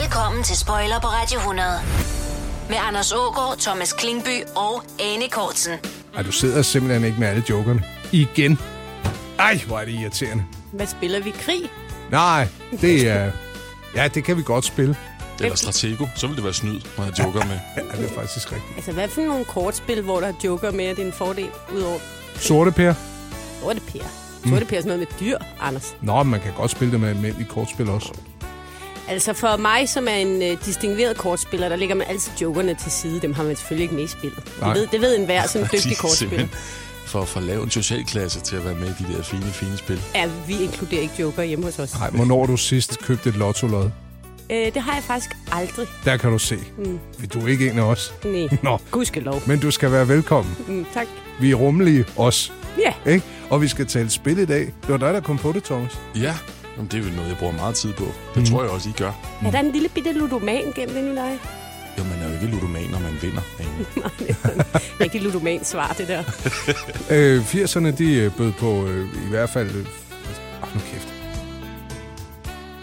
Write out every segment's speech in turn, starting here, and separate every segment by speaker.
Speaker 1: Velkommen til Spoiler på Radio 100. Med Anders Ågaard, Thomas Klingby og Anne Kortsen.
Speaker 2: Ej, du sidder simpelthen ikke med alle jokerne. Igen. Ej, hvor er det irriterende.
Speaker 3: Hvad spiller vi? Krig?
Speaker 2: Nej, det er... Ja, det kan vi godt spille.
Speaker 4: Eller Stratego. Så ville det være snyd, når jeg joker med.
Speaker 2: Ja, det er faktisk rigtigt.
Speaker 3: Altså, hvad for nogle kortspil, hvor der er joker med, at det er en fordel udover...
Speaker 2: Sorte Per.
Speaker 3: Hvor er det pære? Så er
Speaker 2: Mm.
Speaker 3: det pære sådan noget med dyr, Anders.
Speaker 2: Nå, man kan godt spille det med almindelige kortspil også.
Speaker 3: Altså, for mig, som er en øh, distingueret kortspiller, der ligger man altid jokerne til side. Dem har man selvfølgelig ikke med i spillet.
Speaker 2: Nej.
Speaker 3: Det ved, det ved enhver som dygtig
Speaker 4: De er
Speaker 3: kortspiller.
Speaker 4: simpelthen For at få lavet en socialklasse til at være med i de der fine, fine spil.
Speaker 3: Ja, vi inkluderer ikke joker hjemme hos os.
Speaker 2: Nej, hvornår du sidst købte et lotto-lod?
Speaker 3: Øh, det har jeg faktisk aldrig.
Speaker 2: Der kan du se. Mm. Du er ikke en af os.
Speaker 3: Nej.
Speaker 2: Nå,
Speaker 3: Gudskelov.
Speaker 2: men du skal være velkommen.
Speaker 3: Mm, tak.
Speaker 2: Vi er rummelige, os.
Speaker 3: Ja,
Speaker 2: Ikke? Og vi skal tale spil i dag. Det var dig, der kom på det, Thomas.
Speaker 4: Ja, Jamen, det er jo noget, jeg bruger meget tid på. Det
Speaker 2: Mhm.
Speaker 4: mm. tror jeg også, I gør.
Speaker 3: er der en lille bitte ludoman gennem den i dig?
Speaker 4: Jo, man er jo ikke ludoman, når man vinder. Ane.
Speaker 3: Rigtig ludoman svar, det der.
Speaker 2: Øh, 80'erne, de øh, bød på øh, i hvert fald... Øh, oh, nu kæft.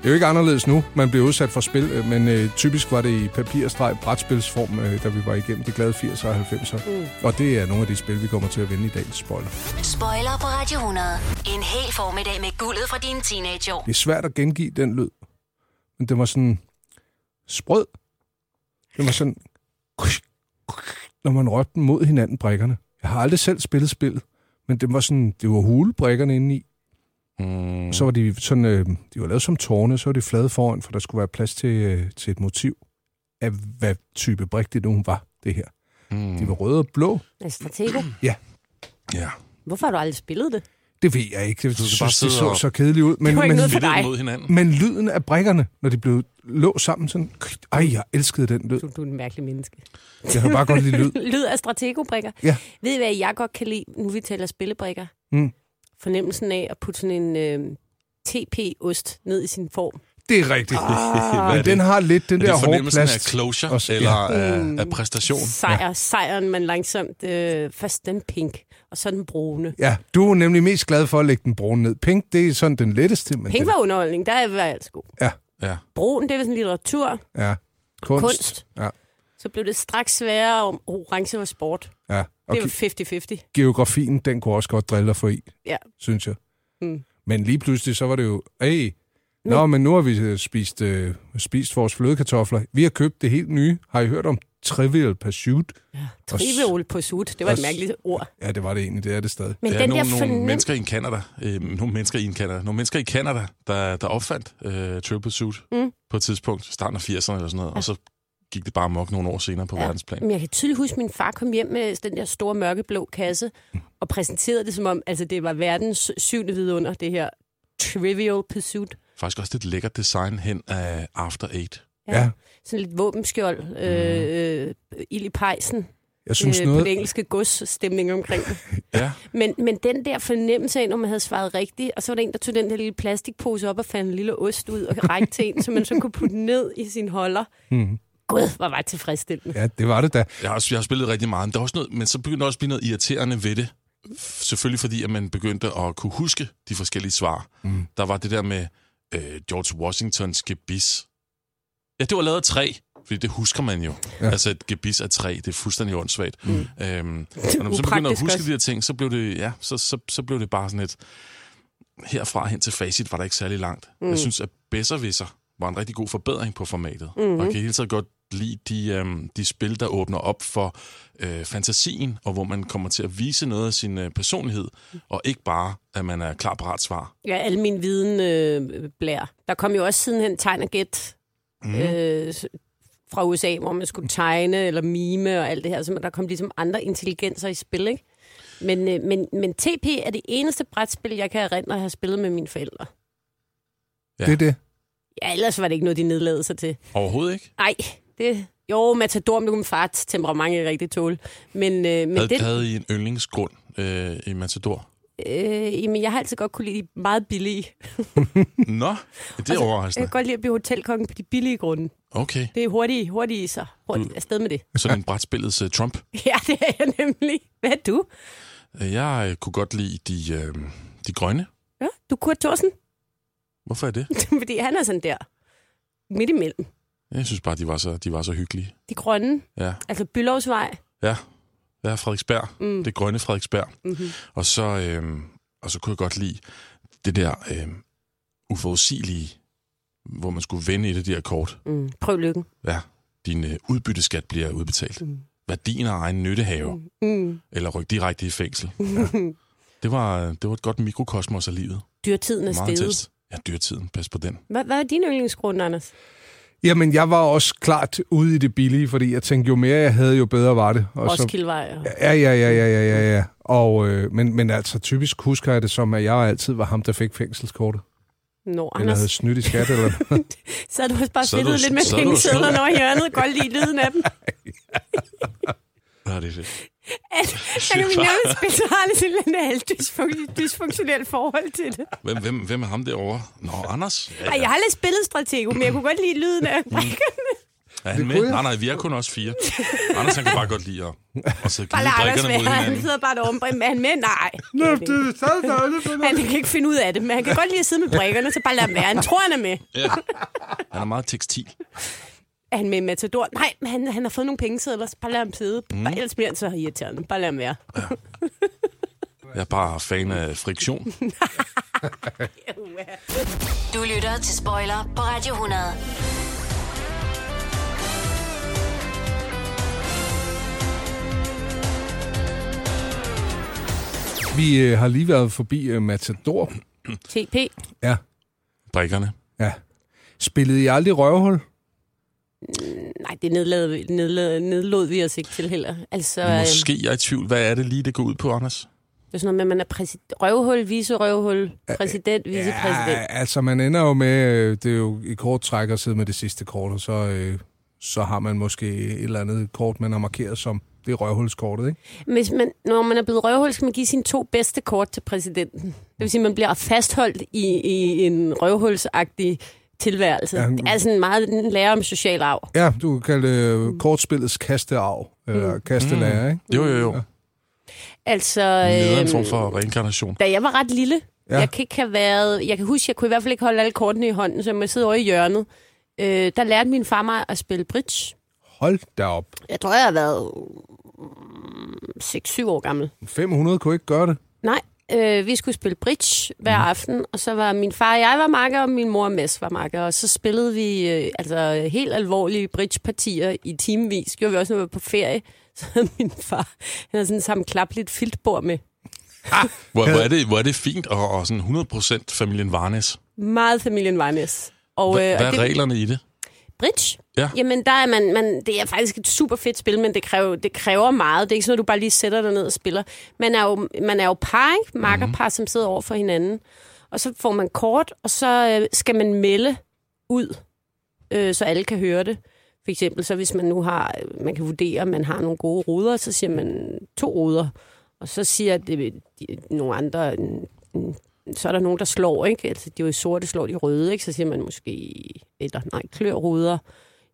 Speaker 2: Det er jo ikke anderledes nu. Man bliver udsat for spil, øh, men øh, typisk var det i papirstreg brætspilsform, øh, da vi var igennem de glade 80'er og 90'er. Mm. Og det er nogle af de spil, vi kommer til at vinde i dagens spoiler.
Speaker 1: Spoiler på Radio 100. En hel formiddag med guldet fra dine teenageår.
Speaker 2: Det er svært at gengive den lyd. Men den var sådan sprød. Den var sådan... Når man rørte den mod hinanden, brækkerne. Jeg har aldrig selv spillet spillet, men det var sådan, det var hulebrækkerne inde i. Mm. Så var de sådan, øh, de var lavet som tårne, så var de flade foran, for der skulle være plads til, øh, til et motiv af, hvad type brik det nu var, det her. Mm. De var røde og blå.
Speaker 3: Altså, Stratego.
Speaker 2: Ja,
Speaker 4: Ja.
Speaker 3: Hvorfor har du aldrig spillet det?
Speaker 2: det ved jeg ikke. Jeg synes
Speaker 4: synes,
Speaker 2: bare, det
Speaker 4: det
Speaker 2: så
Speaker 4: var-
Speaker 2: så kedeligt ud. Men,
Speaker 3: var ikke
Speaker 2: men,
Speaker 3: noget for
Speaker 4: Vi
Speaker 3: dig.
Speaker 4: mod hinanden.
Speaker 2: Men lyden af brækkerne, når de blev lå sammen sådan... Ej, jeg elskede den lyd.
Speaker 3: Du, du er en mærkelig menneske.
Speaker 2: Jeg kan bare godt lide lyd.
Speaker 3: Lyd af strategobrikker.
Speaker 2: Ja.
Speaker 3: Ved I, hvad jeg godt kan lide, nu vi taler spillebrikker?
Speaker 2: Mm.
Speaker 3: Fornemmelsen af at putte sådan en øh, TP-ost ned i sin form.
Speaker 2: Det er rigtigt.
Speaker 4: Ah,
Speaker 2: Men den har lidt den
Speaker 4: er
Speaker 2: der
Speaker 4: det
Speaker 2: hårde
Speaker 4: fornemmelsen
Speaker 2: plast.
Speaker 4: af closure,
Speaker 2: Også-
Speaker 4: også,
Speaker 2: ja.
Speaker 4: eller af,
Speaker 3: Mm.
Speaker 4: af præstation?
Speaker 3: Sejr, ja. sejren, man langsomt... Øh, først den pink, og så den brune.
Speaker 2: Ja, du er nemlig mest glad for at lægge den brune ned. Pink, det er sådan den letteste. Men
Speaker 3: Pink
Speaker 2: den,
Speaker 3: var underholdning, der var jeg altså god.
Speaker 4: Ja.
Speaker 3: Brun, det var sådan litteratur.
Speaker 2: ja, kunst.
Speaker 3: Kunst.
Speaker 2: Ja,
Speaker 3: Så blev det straks sværere, og orange var sport.
Speaker 2: ja. Og
Speaker 3: Det var
Speaker 2: ge-
Speaker 3: 50-50.
Speaker 2: geografien, den kunne også godt drille dig for i,
Speaker 3: Ja.
Speaker 2: synes jeg.
Speaker 3: Mm.
Speaker 2: Men lige pludselig, så var det jo... Hey, Nå, men nu har vi øh, spist, øh, spist vores flødekartofler. Vi har købt det helt nye. Har I hørt om Trivial Pursuit?
Speaker 3: Trivial på sut, det var et
Speaker 2: og-
Speaker 3: mærkeligt ord.
Speaker 2: Ja, det var det egentlig. Det er det stadig.
Speaker 3: Men
Speaker 4: Der er
Speaker 3: den der
Speaker 4: nogle, nogle,
Speaker 3: fornemmelse...
Speaker 4: mennesker i Canada, øh, nogle mennesker i Canada, nogle mennesker i Canada, der, der opfandt øh, Triple Suit
Speaker 3: Mm.
Speaker 4: mm. på et tidspunkt, i starten af 80'erne eller sådan noget, ja. og så gik det bare amok nogle år senere på ja. verdensplan.
Speaker 3: Men jeg kan tydeligt huske, at min far kom hjem med den der store mørkeblå kasse og præsenterede det som om, altså det var verdens syvende vidunder, det her Trivial Pursuit.
Speaker 4: Faktisk også lidt lækkert design hen af After Eight.
Speaker 2: Ja.
Speaker 3: Sådan lidt våbenskjold, øh, øh, ild i pejsen,
Speaker 2: Jeg synes
Speaker 3: øh, på
Speaker 2: noget...
Speaker 3: det engelske godsstemning omkring det.
Speaker 4: Ja.
Speaker 3: Men, men den der fornemmelse af, når man havde svaret rigtigt, og så var der en, der tog den der lille plastikpose op og fandt en lille ost ud og rækte til en, så man så kunne putte den ned i sin holder.
Speaker 2: Mhm.
Speaker 3: Gud, hvor var det tilfredsstillende.
Speaker 2: Ja, det var det da.
Speaker 4: Jeg har, også, jeg har spillet rigtig meget, men, der er også noget, men så begyndte der også at blive noget irriterende ved det. F- Selvfølgelig fordi, at man begyndte at kunne huske de forskellige svar. Mm. Der var det der med øh, George Washingtons gebis. Ja, det var lavet af træ, fordi det husker man jo. Ja. Altså et gebis af træ, det er fuldstændig åndssvagt. Mm. Øhm, og når man så begynder at
Speaker 3: Upraktisk
Speaker 4: huske
Speaker 3: også.
Speaker 4: de der ting, så blev det, ja, så, så, så blev det bare sådan et... Herfra hen til facit var der ikke særlig langt. Mm. Jeg synes, at Besserwisser var en rigtig god forbedring på formatet. Mm-hmm. Og jeg kan helt så godt lide de, øhm, de spil, der åbner op for øh, fantasien, og hvor man kommer til at vise noget af sin øh, personlighed, og ikke bare, at man er klar parat svar.
Speaker 3: Ja, al min viden øh, blær. Der kom jo også sidenhen tegn og gæt mm. øh, s- fra USA, hvor man skulle tegne eller mime og alt det her. Så der kom ligesom andre intelligenser i spil, ikke? Men, øh, men, men TP er det eneste brætspil, jeg kan erindre at have spillet med mine forældre.
Speaker 2: Ja.
Speaker 4: Ja.
Speaker 2: Det er det.
Speaker 3: Ja, ellers var det ikke noget, de nedlagde sig til.
Speaker 4: Overhovedet ikke.
Speaker 3: Nej, det... Jo, Matador, men det kunne min fars temperament ikke rigtig tåle. Men, øh, men
Speaker 4: Havde,
Speaker 3: det,
Speaker 4: det... havde I en yndlingsgrund øh, i Matador?
Speaker 3: øh, jamen, jeg har altid godt kunne lide de meget billige.
Speaker 4: Nå, det er
Speaker 3: Jeg
Speaker 4: overraskende.
Speaker 3: kan godt lide at blive hotelkongen på de billige grunde.
Speaker 4: Okay,
Speaker 3: Det er hurtige, hurtige så hurtigt afsted med det.
Speaker 4: sådan en brætspillets uh, Trump.
Speaker 3: Ja, det er jeg nemlig. Hvad er du?
Speaker 4: Øh, Jeg øh, kunne godt lide de, øh, de grønne.
Speaker 3: Ja, du er Kurt Thorsen,
Speaker 4: Hvorfor er det?
Speaker 3: fordi han er sådan der midt imellem.
Speaker 4: Jeg synes bare, de var så, de var så hyggelige.
Speaker 3: De grønne,
Speaker 4: Ja,
Speaker 3: altså Bylovsvej.
Speaker 4: ja. ja Frederiksberg.
Speaker 3: Mm.
Speaker 4: Det grønne Frederiksberg.
Speaker 3: Mm-hmm.
Speaker 4: Og så, øh, og så kunne jeg godt lide det der øh, uforudsigelige, hvor man skulle vende et af de her kort.
Speaker 3: Mm. Prøv lykken.
Speaker 4: Ja, din øh, udbytteskat bliver udbetalt.
Speaker 3: Mm.
Speaker 4: Værdien af egen nyttehave. Mm.
Speaker 3: Mm.
Speaker 4: Eller ryk direkte i fængsel. Ja. Det, var, det var et godt mikrokosmos af livet.
Speaker 3: Dyrtiden er
Speaker 4: Meget
Speaker 3: steget.
Speaker 4: tæt. Ja, dyrtiden. Pas på den.
Speaker 3: Hvad, hvad er din yndlingsgrund, Anders?
Speaker 2: Jamen, jeg var også klart ude i det billige, fordi jeg tænkte, jo mere jeg havde, jo bedre var det. Og så,
Speaker 3: Roskildevej. Og...
Speaker 2: ja, ja, ja, ja, ja, ja, ja. Og, øh, men, men altså, typisk husker jeg det som, at jeg altid var ham, der fik fængselskortet.
Speaker 3: Nå,
Speaker 2: Eller havde
Speaker 3: Anders,
Speaker 2: snydt i skat, eller
Speaker 3: så har du også bare
Speaker 4: Så er du-
Speaker 3: fedtet lidt med
Speaker 4: så er du-
Speaker 3: pengesedlerne over i hjørnet. Godt lide lyden af dem.
Speaker 4: Ja, det er fedt.
Speaker 3: Så kan vi nærmest betragte til en halv dysfunk- dysfunktionel forhold til det.
Speaker 4: Hvem, hvem, hvem er ham derovre? Nå, Anders? Ja,
Speaker 3: Ej, jeg har aldrig spillet stratego, men jeg kunne godt lide lyden af
Speaker 4: Mm. Er han
Speaker 2: kunne
Speaker 4: med?
Speaker 2: jeg.
Speaker 4: Nej, nej, vi er kun os fire. Anders, han kan bare godt lide at, at sidde og
Speaker 3: Bare
Speaker 4: glide
Speaker 3: lad Anders
Speaker 4: drikkerne mod
Speaker 3: være. Han
Speaker 4: hinanden.
Speaker 3: sidder bare derovre med han med. Nej.
Speaker 2: noget.
Speaker 3: Han kan ikke finde ud af det, men han kan godt lide at sidde med brikkerne, så bare lad ham være. Han tror, han er med.
Speaker 4: Ja. Han er meget tekstil.
Speaker 3: Er han med i Matador? Nej, men han, han har fået nogle pengesedler, så bare lad ham sidde.
Speaker 2: Mm.
Speaker 3: Bare, ellers bliver han så irriterende. Bare lad ham være.
Speaker 4: Jeg er bare fan af friktion.
Speaker 1: Du lytter til Spoiler på Radio 100.
Speaker 2: Vi øh, har lige været forbi øh, Matador.
Speaker 3: TP.
Speaker 2: Ja,
Speaker 4: Brikkerne.
Speaker 2: ja. Spillede I aldrig røvhul?
Speaker 3: Nej, det nedlod, nedlod, nedlod vi os ikke til heller. Altså, øh,
Speaker 4: Måske jeg er i tvivl. Hvad er det lige, det går ud på, Anders?
Speaker 3: det er sådan noget med, at man er præsid- røvhul, vice røvhul, præsident, vice
Speaker 2: Ja,
Speaker 3: præsident.
Speaker 2: altså man ender jo med, øh, det er jo i kort træk at sidde med det sidste kort, og så, øh, så har man måske et eller andet kort, man har markeret som det er røvhulskortet, ikke?
Speaker 3: Hvis man, når man er blevet røvhul, skal man give sine to bedste kort til præsidenten. Det vil sige, at man bliver fastholdt i, i en røvhulsagtig tilværelse.
Speaker 2: Ja.
Speaker 3: Ja. Det er sådan meget en lære om social arv.
Speaker 2: Ja, du kan kalde det øh, kortspillets kastearv, eller mm. kastelærer, ikke?
Speaker 4: Jo, jo, jo.
Speaker 3: Altså,
Speaker 4: Nede en
Speaker 3: øhm,
Speaker 4: form for reinkarnation.
Speaker 3: da jeg var ret lille,
Speaker 2: Ja.
Speaker 3: ja. jeg kan ikke have været... Jeg kan huske, jeg kunne i hvert fald ikke holde alle kortene i hånden, så jeg må sidde over i hjørnet. Øh, der lærte min far mig at spille bridge.
Speaker 2: Hold da op.
Speaker 3: Jeg tror, jeg har været mm, 6-7 år gammel.
Speaker 2: 500 kunne ikke gøre det.
Speaker 3: Nej, øh, vi skulle spille bridge hver aften, og så var min far og jeg var makker, og min mor og Mads var makker, og så spillede vi øh, altså helt alvorlige bridgepartier i timevis. Gjorde vi også, når vi var på ferie. Så havde min far, han havde sådan sammen klapligt filtbord med.
Speaker 4: Hvor, hvor, er, det, hvor er det fint, og, og sådan 100% familien Varnes.
Speaker 3: Meget familien Varnes. Og, øh,
Speaker 4: Hvad,
Speaker 3: og
Speaker 4: hvad
Speaker 3: det-
Speaker 4: er reglerne i det?
Speaker 3: Bridge?
Speaker 4: Ja.
Speaker 3: Jamen, der er man, man, det er faktisk et super fedt spil, men det kræver, det kræver meget. Det er ikke sådan, at du bare lige sætter dig ned og spiller. Man er jo, man er jo par, ikke? Makkerpar, som sidder over for hinanden. Og så får man kort, og så øh, skal man melde ud, øh, så alle kan høre det. For eksempel, så hvis man nu har, øh, man kan vurdere, om man har nogle gode ruder, så siger man to ruder. Og så siger det, de, nogle andre, mm, mm, så er der nogen, der slår, ikke? Altså, de er jo i sorte, slår de røde, ikke? Så siger man måske, eller nej, klørruder,